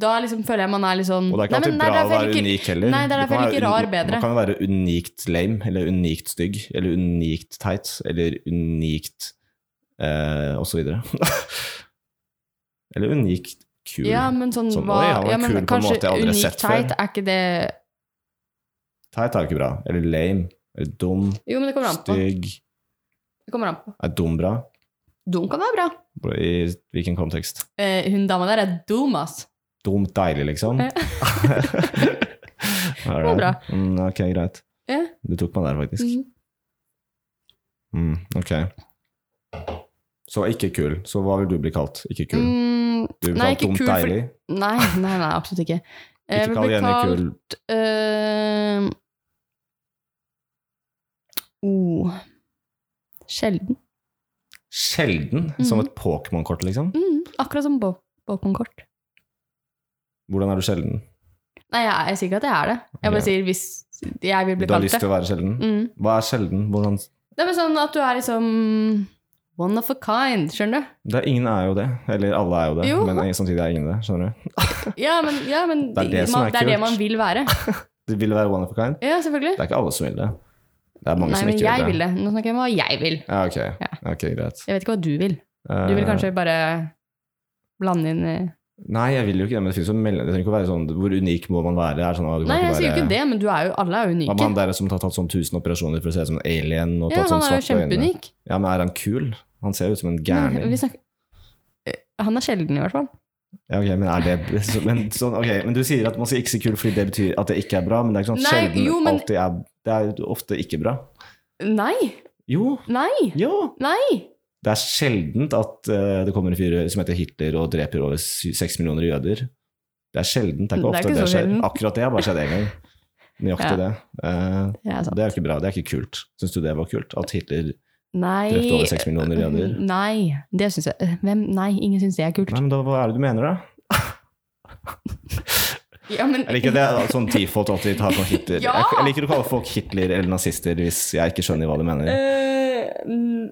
Speaker 2: da liksom føler jeg man er litt sånn
Speaker 1: Og det er ikke
Speaker 2: Nei,
Speaker 1: alltid
Speaker 2: men
Speaker 1: bra
Speaker 2: nei,
Speaker 1: å
Speaker 2: derfor er
Speaker 1: være
Speaker 2: ikke-
Speaker 1: unik heller.
Speaker 2: Nei, det
Speaker 1: Du
Speaker 2: er
Speaker 1: kan
Speaker 2: derfor jeg
Speaker 1: være
Speaker 2: liker rar
Speaker 1: un-
Speaker 2: bedre.
Speaker 1: Man kan jo være unikt lame, eller unikt stygg, eller unikt teit, eller unikt eh, og så videre. eller unikt kul.
Speaker 2: Ja, men sånn
Speaker 1: Sånn,
Speaker 2: hva
Speaker 1: oi, han var
Speaker 2: ja, men
Speaker 1: kul på en
Speaker 2: Kanskje
Speaker 1: måte jeg aldri har
Speaker 2: unik
Speaker 1: sett
Speaker 2: teit
Speaker 1: før.
Speaker 2: er ikke det
Speaker 1: Teit er jo ikke bra. Eller lame. Eller dum.
Speaker 2: Jo, men det kommer an på.
Speaker 1: Stygg.
Speaker 2: Det kommer an på.
Speaker 1: Er dum bra?
Speaker 2: Dum kan være bra.
Speaker 1: I hvilken kontekst?
Speaker 2: Eh, hun dama der er dum, ass.
Speaker 1: Dumt deilig, liksom?
Speaker 2: Ja.
Speaker 1: det
Speaker 2: var bra.
Speaker 1: Mm, ok, greit.
Speaker 2: Ja.
Speaker 1: Du tok meg der, faktisk.
Speaker 2: Mhm.
Speaker 1: Mm, ok. Så ikke kul. Så hva vil du bli kalt? Ikke kul.
Speaker 2: Mm,
Speaker 1: Du blir
Speaker 2: nei,
Speaker 1: kalt
Speaker 2: ikke
Speaker 1: dumt
Speaker 2: kul, for-
Speaker 1: deilig.
Speaker 2: nei, nei, nei, absolutt ikke. Jeg
Speaker 1: Ikke
Speaker 2: vil
Speaker 1: kall
Speaker 2: bli
Speaker 1: Jenny
Speaker 2: kalt,
Speaker 1: kul.
Speaker 2: eh, oh, sjelden.
Speaker 1: Sjelden. Som et Pokémon-kort, liksom.
Speaker 2: Mm, akkurat som bo- Pokémon-kort.
Speaker 1: Hvordan er du sjelden?
Speaker 2: Nei, jeg, jeg sier ikke at jeg er det. Jeg bare
Speaker 1: Ja.
Speaker 2: sier hvis jeg vil bli
Speaker 1: Du har
Speaker 2: kalt
Speaker 1: lyst
Speaker 2: det.
Speaker 1: til å være sjelden?
Speaker 2: Mm.
Speaker 1: Hva er sjelden? Hvordan
Speaker 2: Det er bare sånn at du er liksom one of a kind, skjønner du?
Speaker 1: det er, ingen er jo det. Eller alle er jo det,
Speaker 2: Jo.
Speaker 1: men samtidig er ingen det. Skjønner du?
Speaker 2: Ja, men, ja, men
Speaker 1: Det er det som
Speaker 2: man,
Speaker 1: er
Speaker 2: det, er det
Speaker 1: kult.
Speaker 2: man vil være.
Speaker 1: Det vil være one of a kind.
Speaker 2: Ja, selvfølgelig.
Speaker 1: Det er ikke alle som vil det. Det er mange
Speaker 2: Nei,
Speaker 1: som
Speaker 2: men
Speaker 1: ikke
Speaker 2: jeg
Speaker 1: vil
Speaker 2: vil
Speaker 1: det.
Speaker 2: det. Nå snakker jeg om hva jeg vil.
Speaker 1: Ja, ok.
Speaker 2: Ja.
Speaker 1: Ok, greit.
Speaker 2: Jeg vet ikke hva du vil. Du vil
Speaker 1: Eh,
Speaker 2: kanskje bare blande inn eh,
Speaker 1: Nei, jeg vil jo ikke det, men det finnes jo mellom... Det trenger ikke å være sånn Hvor unik må man være? Det Er sånn, ah, du kan
Speaker 2: Nei, jeg sier jo
Speaker 1: være-
Speaker 2: ikke det, men du er jo, alle er jo
Speaker 1: Hva med han
Speaker 2: unike.
Speaker 1: der som har tatt sånn 1000 operasjoner for å se ut som en alien? Og
Speaker 2: Ja,
Speaker 1: tatt sånn
Speaker 2: han er jo
Speaker 1: svarte øyne?
Speaker 2: kjempeunik.
Speaker 1: Ja, men er han kul? Han ser jo ut som en
Speaker 2: Men
Speaker 1: gærning.
Speaker 2: vi snakker- Eh, Han er sjelden, i hvert fall.
Speaker 1: Ja, ok, men er det så- men, sånn, ok, men du sier at man sier ikke så kul fordi det betyr at det ikke er bra, men det er ikke sånn
Speaker 2: Nei,
Speaker 1: sjelden
Speaker 2: jo, men-
Speaker 1: alltid er Det er jo ofte ikke bra.
Speaker 2: Nei!
Speaker 1: Jo,
Speaker 2: Nei!
Speaker 1: jo!
Speaker 2: Nei!
Speaker 1: Det er sjeldent at eh, det kommer en fyr som heter Hitler og dreper over sy- seks millioner jøder. Det er sjeldent. Det er ikke
Speaker 2: Det
Speaker 1: ofte
Speaker 2: er ikke
Speaker 1: det,
Speaker 2: så
Speaker 1: skjer.
Speaker 2: sjelden.
Speaker 1: Akkurat det har bare skjedd én gang. Nøyaktig
Speaker 2: Ja.
Speaker 1: det. Eh,
Speaker 2: Det er sant.
Speaker 1: det er jo ikke bra. Det er ikke kult. Syns du det var kult? At Hitler drepte
Speaker 2: Nei.
Speaker 1: over seks millioner jøder?
Speaker 2: Nei, det syns jeg eh, Hvem? Nei, ingen syns det er kult.
Speaker 1: Nei, men da, hva er det du mener, da?
Speaker 2: Ja, men
Speaker 1: Jeg liker at det er sånn default alltid tar sånn Hitler.
Speaker 2: Ja!
Speaker 1: Jeg, jeg liker å kalle folk Hitler eller nazister hvis jeg ikke skjønner hva de mener.
Speaker 2: Eh, mm,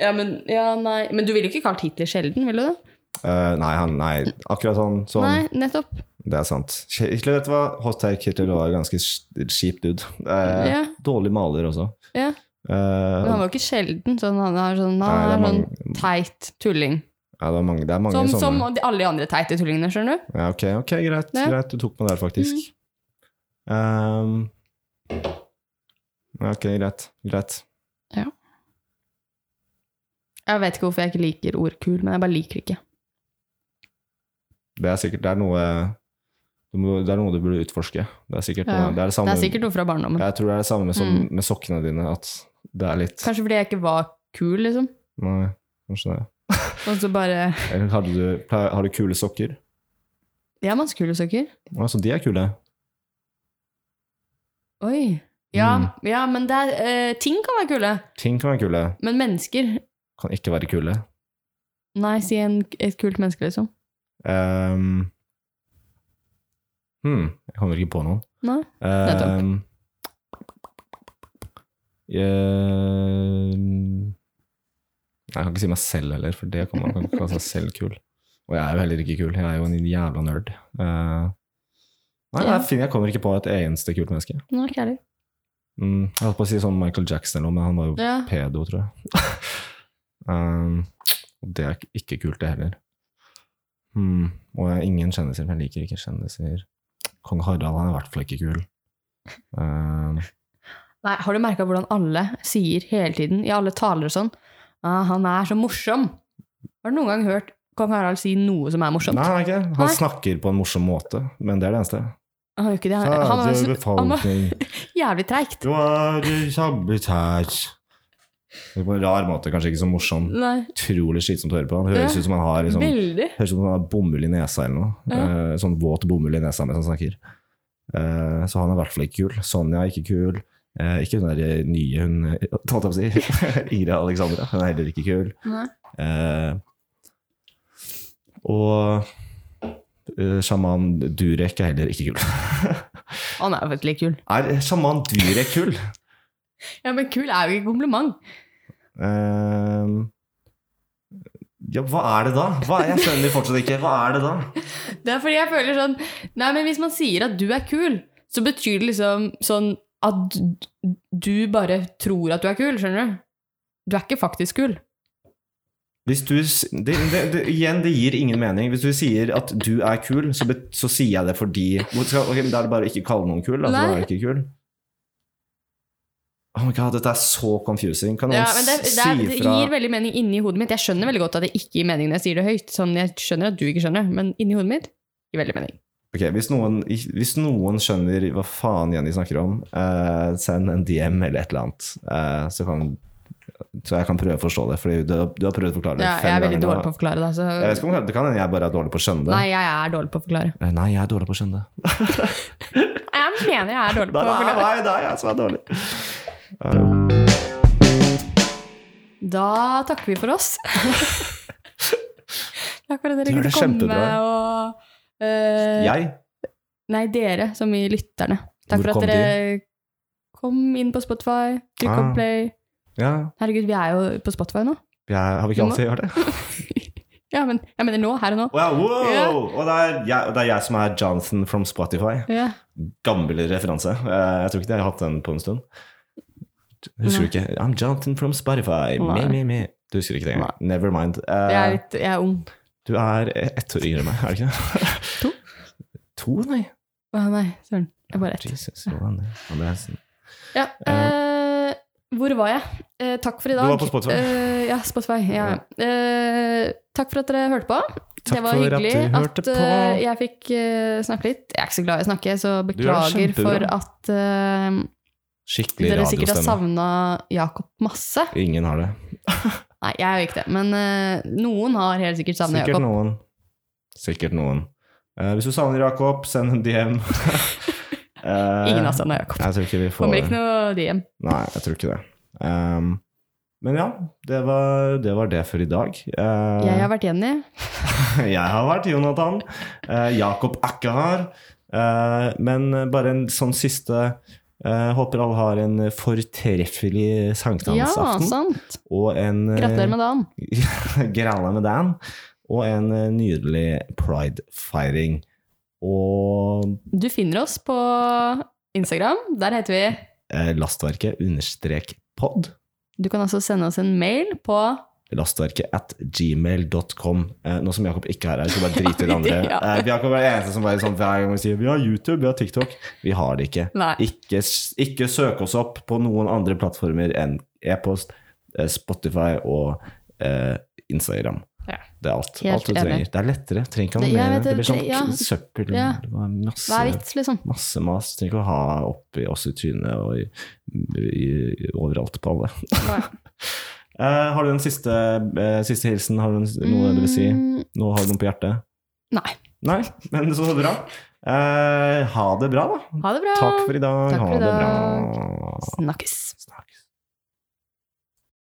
Speaker 2: Ja, men Ja, nei. Men du ville ikke kalt Hitler sjelden, ville du det?
Speaker 1: Eh, nei, han, nei, akkurat sånn. sånn.
Speaker 2: Nei, nettopp.
Speaker 1: Det er sant. Hitler, vet du hva? Hot take Hitler var en ganske sk- kjip dude. Eh,
Speaker 2: Ja.
Speaker 1: Dårlig maler også.
Speaker 2: Ja. Men han
Speaker 1: Eh,
Speaker 2: var jo ikke sjelden. Sånn, han er sånn,
Speaker 1: nei, det,
Speaker 2: han
Speaker 1: er
Speaker 2: er sånn
Speaker 1: mange,
Speaker 2: teit tulling.
Speaker 1: ja, det er mange, det er mange
Speaker 2: Som, som
Speaker 1: sånne.
Speaker 2: de- alle de andre teite tullingene, skjønner du?
Speaker 1: Ja, ok, ok, greit,
Speaker 2: Ja. Mhm.
Speaker 1: greit. Du tok meg der, faktisk. Um, ja, ok, greit. Greit.
Speaker 2: Jeg vet ikke hvorfor jeg ikke liker ord kul, men jeg bare liker det ikke.
Speaker 1: Det er sikkert det er noe du må, Det er noe du burde utforske. Det er sikkert,
Speaker 2: Ja.
Speaker 1: noe, det er det
Speaker 2: Det
Speaker 1: samme
Speaker 2: er sikkert noe fra barndommen.
Speaker 1: Jeg tror det er det samme med, som,
Speaker 2: Mm.
Speaker 1: med sokkene dine, at det er litt
Speaker 2: Kanskje fordi jeg ikke var kul, liksom.
Speaker 1: Nei, kanskje det.
Speaker 2: Og så bare
Speaker 1: Eller hadde du, pleier- har du kule sokker?
Speaker 2: Jeg er masse kule sokker.
Speaker 1: Altså, de er kule.
Speaker 2: Oi. Ja, ja men det er, eh, ting kan være kule.
Speaker 1: Ting kan være kule,
Speaker 2: Men mennesker
Speaker 1: kan ikke være kule.
Speaker 2: Nei, si en, et kult menneske, liksom.
Speaker 1: Ehm, hmm, jeg kommer ikke på noen.
Speaker 2: Nei.
Speaker 1: Ehm, ehm, jeg kan ikke si meg selv heller, for det kan man kan ikke kalle seg selv kul. Og jeg er jo heller ikke kul, jeg er jo en jævla nerd. Eh, nei,
Speaker 2: Ja.
Speaker 1: jeg, jeg kommer ikke på et eneste kult menneske.
Speaker 2: Nå er ikke jeg det.
Speaker 1: Mm, jeg holdt på å si sånn Michael Jackson eller noe, men han var jo
Speaker 2: Ja.
Speaker 1: pedo, tror jeg. um, og det er ikke kult, det heller. Hmm, og jeg har ingen kjendiser, for jeg liker ikke kjendiser. Kong Harald han er i hvert fall ikke kul. Um,
Speaker 2: Nei, har du merka hvordan alle sier hele tiden, i alle taler og sånn, ah, 'han er så morsom'? Har du noen gang hørt kan Harald si noe som er morsomt?
Speaker 1: Nei, han er ikke det. Han
Speaker 2: Nei.
Speaker 1: snakker på en morsom måte, men det er det eneste.
Speaker 2: Han gjør ikke det. Han, han, var,
Speaker 1: Kjære
Speaker 2: så- han var
Speaker 1: befolkning,
Speaker 2: jævlig treigt.
Speaker 1: du er kjempet her. Det er På en rar måte, kanskje ikke så morsom.
Speaker 2: Nei,
Speaker 1: Utrolig slitsomt å høre på. Han høres
Speaker 2: Ja.
Speaker 1: ut som han har liksom,
Speaker 2: veldig.
Speaker 1: Høres ut som han har bomull i nesa eller noe.
Speaker 2: Ja.
Speaker 1: Eh, sånn våt bomull i nesa mens han snakker. Eh, så han er i hvert fall ikke kul. Sonja er ikke kul. Eh, ikke hun der nye hun holdt jeg på å si. Ingrid Alexandra. Hun er heller ikke kul.
Speaker 2: Nei.
Speaker 1: Eh, og eh, sjaman Durek er heller ikke kul.
Speaker 2: Han er jo faktisk litt kul.
Speaker 1: Er sjaman Durek kul?
Speaker 2: Ja, Men kul er jo ikke et kompliment.
Speaker 1: Eh, ja, hva er det da? Hva, jeg skjønner fortsatt ikke. Hva er det da?
Speaker 2: Det er fordi jeg føler sånn Nei, men hvis man sier at du er kul, så betyr det liksom sånn at d- du bare tror at du er kul, skjønner du? Du er ikke faktisk kul.
Speaker 1: Hvis du, s- det, det, det, igjen, det gir ingen mening. Hvis du sier at du er kul, så, bet- så sier jeg det fordi Hvor skal- ok, men Da er det bare å ikke kalle noen kul. Da, for da er du ikke kul. Oh my god, dette er så confusing. Kan noen
Speaker 2: Ja, men det, det, er, det
Speaker 1: si fra
Speaker 2: gir veldig mening inni hodet mitt. Jeg skjønner veldig godt at det ikke gir mening når jeg sier det høyt. Sånn, Jeg skjønner at du ikke skjønner, men inni hodet mitt gir veldig mening.
Speaker 1: Ok, hvis noen, hvis noen skjønner hva faen Jenny snakker om, eh, send en DM eller et eller annet. Eh, så, kan, så jeg kan prøve å forstå det, for du, du har prøvd å forklare det
Speaker 2: Ja,
Speaker 1: fem
Speaker 2: jeg er veldig
Speaker 1: ganger.
Speaker 2: dårlig på å forklare det.
Speaker 1: jeg vet
Speaker 2: Så...
Speaker 1: ikke om det- det kan hende jeg bare er dårlig på å skjønne det.
Speaker 2: Nei, jeg er dårlig på å forklare.
Speaker 1: Eh, Nei, jeg er dårlig på å skjønne det.
Speaker 2: Jeg mener jeg er dårlig
Speaker 1: Nei,
Speaker 2: på å
Speaker 1: nei,
Speaker 2: forklare.
Speaker 1: nei, det er jeg som er dårlig.
Speaker 2: Da takker vi for oss. Takk for at dere
Speaker 1: Det var
Speaker 2: kunne
Speaker 1: det
Speaker 2: komme
Speaker 1: kjempebra.
Speaker 2: og eh,
Speaker 1: Jeg?
Speaker 2: Nei, dere, som i lytterne. Takk
Speaker 1: Hvor
Speaker 2: for
Speaker 1: kom
Speaker 2: at dere kom inn på Spotify. Trykk
Speaker 1: Ah.
Speaker 2: og play.
Speaker 1: Ja.
Speaker 2: Herregud, vi er jo på Spotify nå.
Speaker 1: Jeg, har vi ikke
Speaker 2: Du må-
Speaker 1: alltid gjort det?
Speaker 2: Ja, men jeg mener nå. Her og nå.
Speaker 1: Wow, wow!
Speaker 2: Ja.
Speaker 1: Og det er, jeg, det er jeg som er Jonathan from Spotify.
Speaker 2: Ja.
Speaker 1: Gammel referanse. Eh, Jeg tror ikke jeg har hatt den på en stund. Husker du
Speaker 2: Nei.
Speaker 1: ikke? I'm Jonathan from Spotify. Me,
Speaker 2: Nei.
Speaker 1: me, me. Du husker ikke det engang. Never mind. Eh,
Speaker 2: Jeg er, litt, jeg er ung.
Speaker 1: Du er ett år yngre enn meg, er du ikke det?
Speaker 2: To?
Speaker 1: to, nei.
Speaker 2: Å, nei, søren. Jeg bare ett.
Speaker 1: Jesus, hva er det? Hva er det?
Speaker 2: Ja, eh, hvor var jeg? Eh, takk for i
Speaker 1: Du
Speaker 2: dag.
Speaker 1: var på Spotify.
Speaker 2: Eh, ja, Spotify. Ja. Eh, takk for at dere hørte på.
Speaker 1: Takk
Speaker 2: det var
Speaker 1: for at
Speaker 2: hyggelig
Speaker 1: du hørte på.
Speaker 2: eh, jeg fikk eh, snakke litt. Jeg er ikke så glad i å snakke, så
Speaker 1: Du gjør det
Speaker 2: beklager for
Speaker 1: kjempebra.
Speaker 2: at eh,
Speaker 1: Skikkelig
Speaker 2: dere sikkert har
Speaker 1: radiostemme.
Speaker 2: savna Jakob masse.
Speaker 1: Ingen har det.
Speaker 2: Nei, jeg gjør ikke det, men eh, noen har helt sikkert savna
Speaker 1: Sikkert
Speaker 2: Jakob.
Speaker 1: noen. Sikkert noen. Eh, hvis du savner Jakob, send en DM. Eh,
Speaker 2: Ingen har savna Jakob.
Speaker 1: Jeg tror ikke vi får
Speaker 2: Kommer ikke noe DM.
Speaker 1: Nei, jeg tror ikke det. Ehm, men ja, det var, det var det for i dag. Eh,
Speaker 2: Jeg har vært Jenny.
Speaker 1: jeg har vært Jonathan. Eh, Jakob er ikke her. Eh, men bare en sånn siste eh, Håper alle har en fortreffelig
Speaker 2: Ja,
Speaker 1: sankthansaften.
Speaker 2: sant.
Speaker 1: og en eh,
Speaker 2: Gratulerer med dagen.
Speaker 1: Gralla med Dan. Og en eh, nydelig pridefeiring. Og
Speaker 2: Du finner oss på Instagram. Der heter vi
Speaker 1: eh, lastverket understrek pod.
Speaker 2: Du kan altså sende oss en mail på
Speaker 1: Lastverket at gmail.com. Eh, nå som Jakob ikke er her, så bare drit i det andre.
Speaker 2: Ja.
Speaker 1: Eh, Jakob er den eneste som bare sånn hver gang vi sier vi har YouTube, vi har TikTok. Vi har det ikke.
Speaker 2: Nei.
Speaker 1: Ikke, s- ikke søk oss opp på noen andre plattformer enn e-post, eh, Spotify og eh, Instagram.
Speaker 2: Ja.
Speaker 1: Det er alt.
Speaker 2: Helt
Speaker 1: alt du
Speaker 2: enig.
Speaker 1: trenger. Det er lettere. Trenger ikke ha
Speaker 2: Det-
Speaker 1: noe
Speaker 2: jeg
Speaker 1: mer.
Speaker 2: vet
Speaker 1: Det
Speaker 2: det,
Speaker 1: blir sånn
Speaker 2: det- ja.
Speaker 1: søppel.
Speaker 2: Ja.
Speaker 1: Det var
Speaker 2: Hva er
Speaker 1: masse,
Speaker 2: vits, liksom?
Speaker 1: masse mas. Trenger ikke å ha oppi oss i trynet og i, i, overalt på alle.
Speaker 2: Nei.
Speaker 1: Eh, har du en siste, eh, siste hilsen? Har du en, noe du vil si?
Speaker 2: Mm,
Speaker 1: Noe har du noe på hjertet?
Speaker 2: Nei.
Speaker 1: Nei, men så bra. Eh, ha det bra, da.
Speaker 2: Ha det bra.
Speaker 1: Takk for i dag.
Speaker 2: Takk for i
Speaker 1: ha det bra.
Speaker 2: Snakkes.
Speaker 1: Snakkes.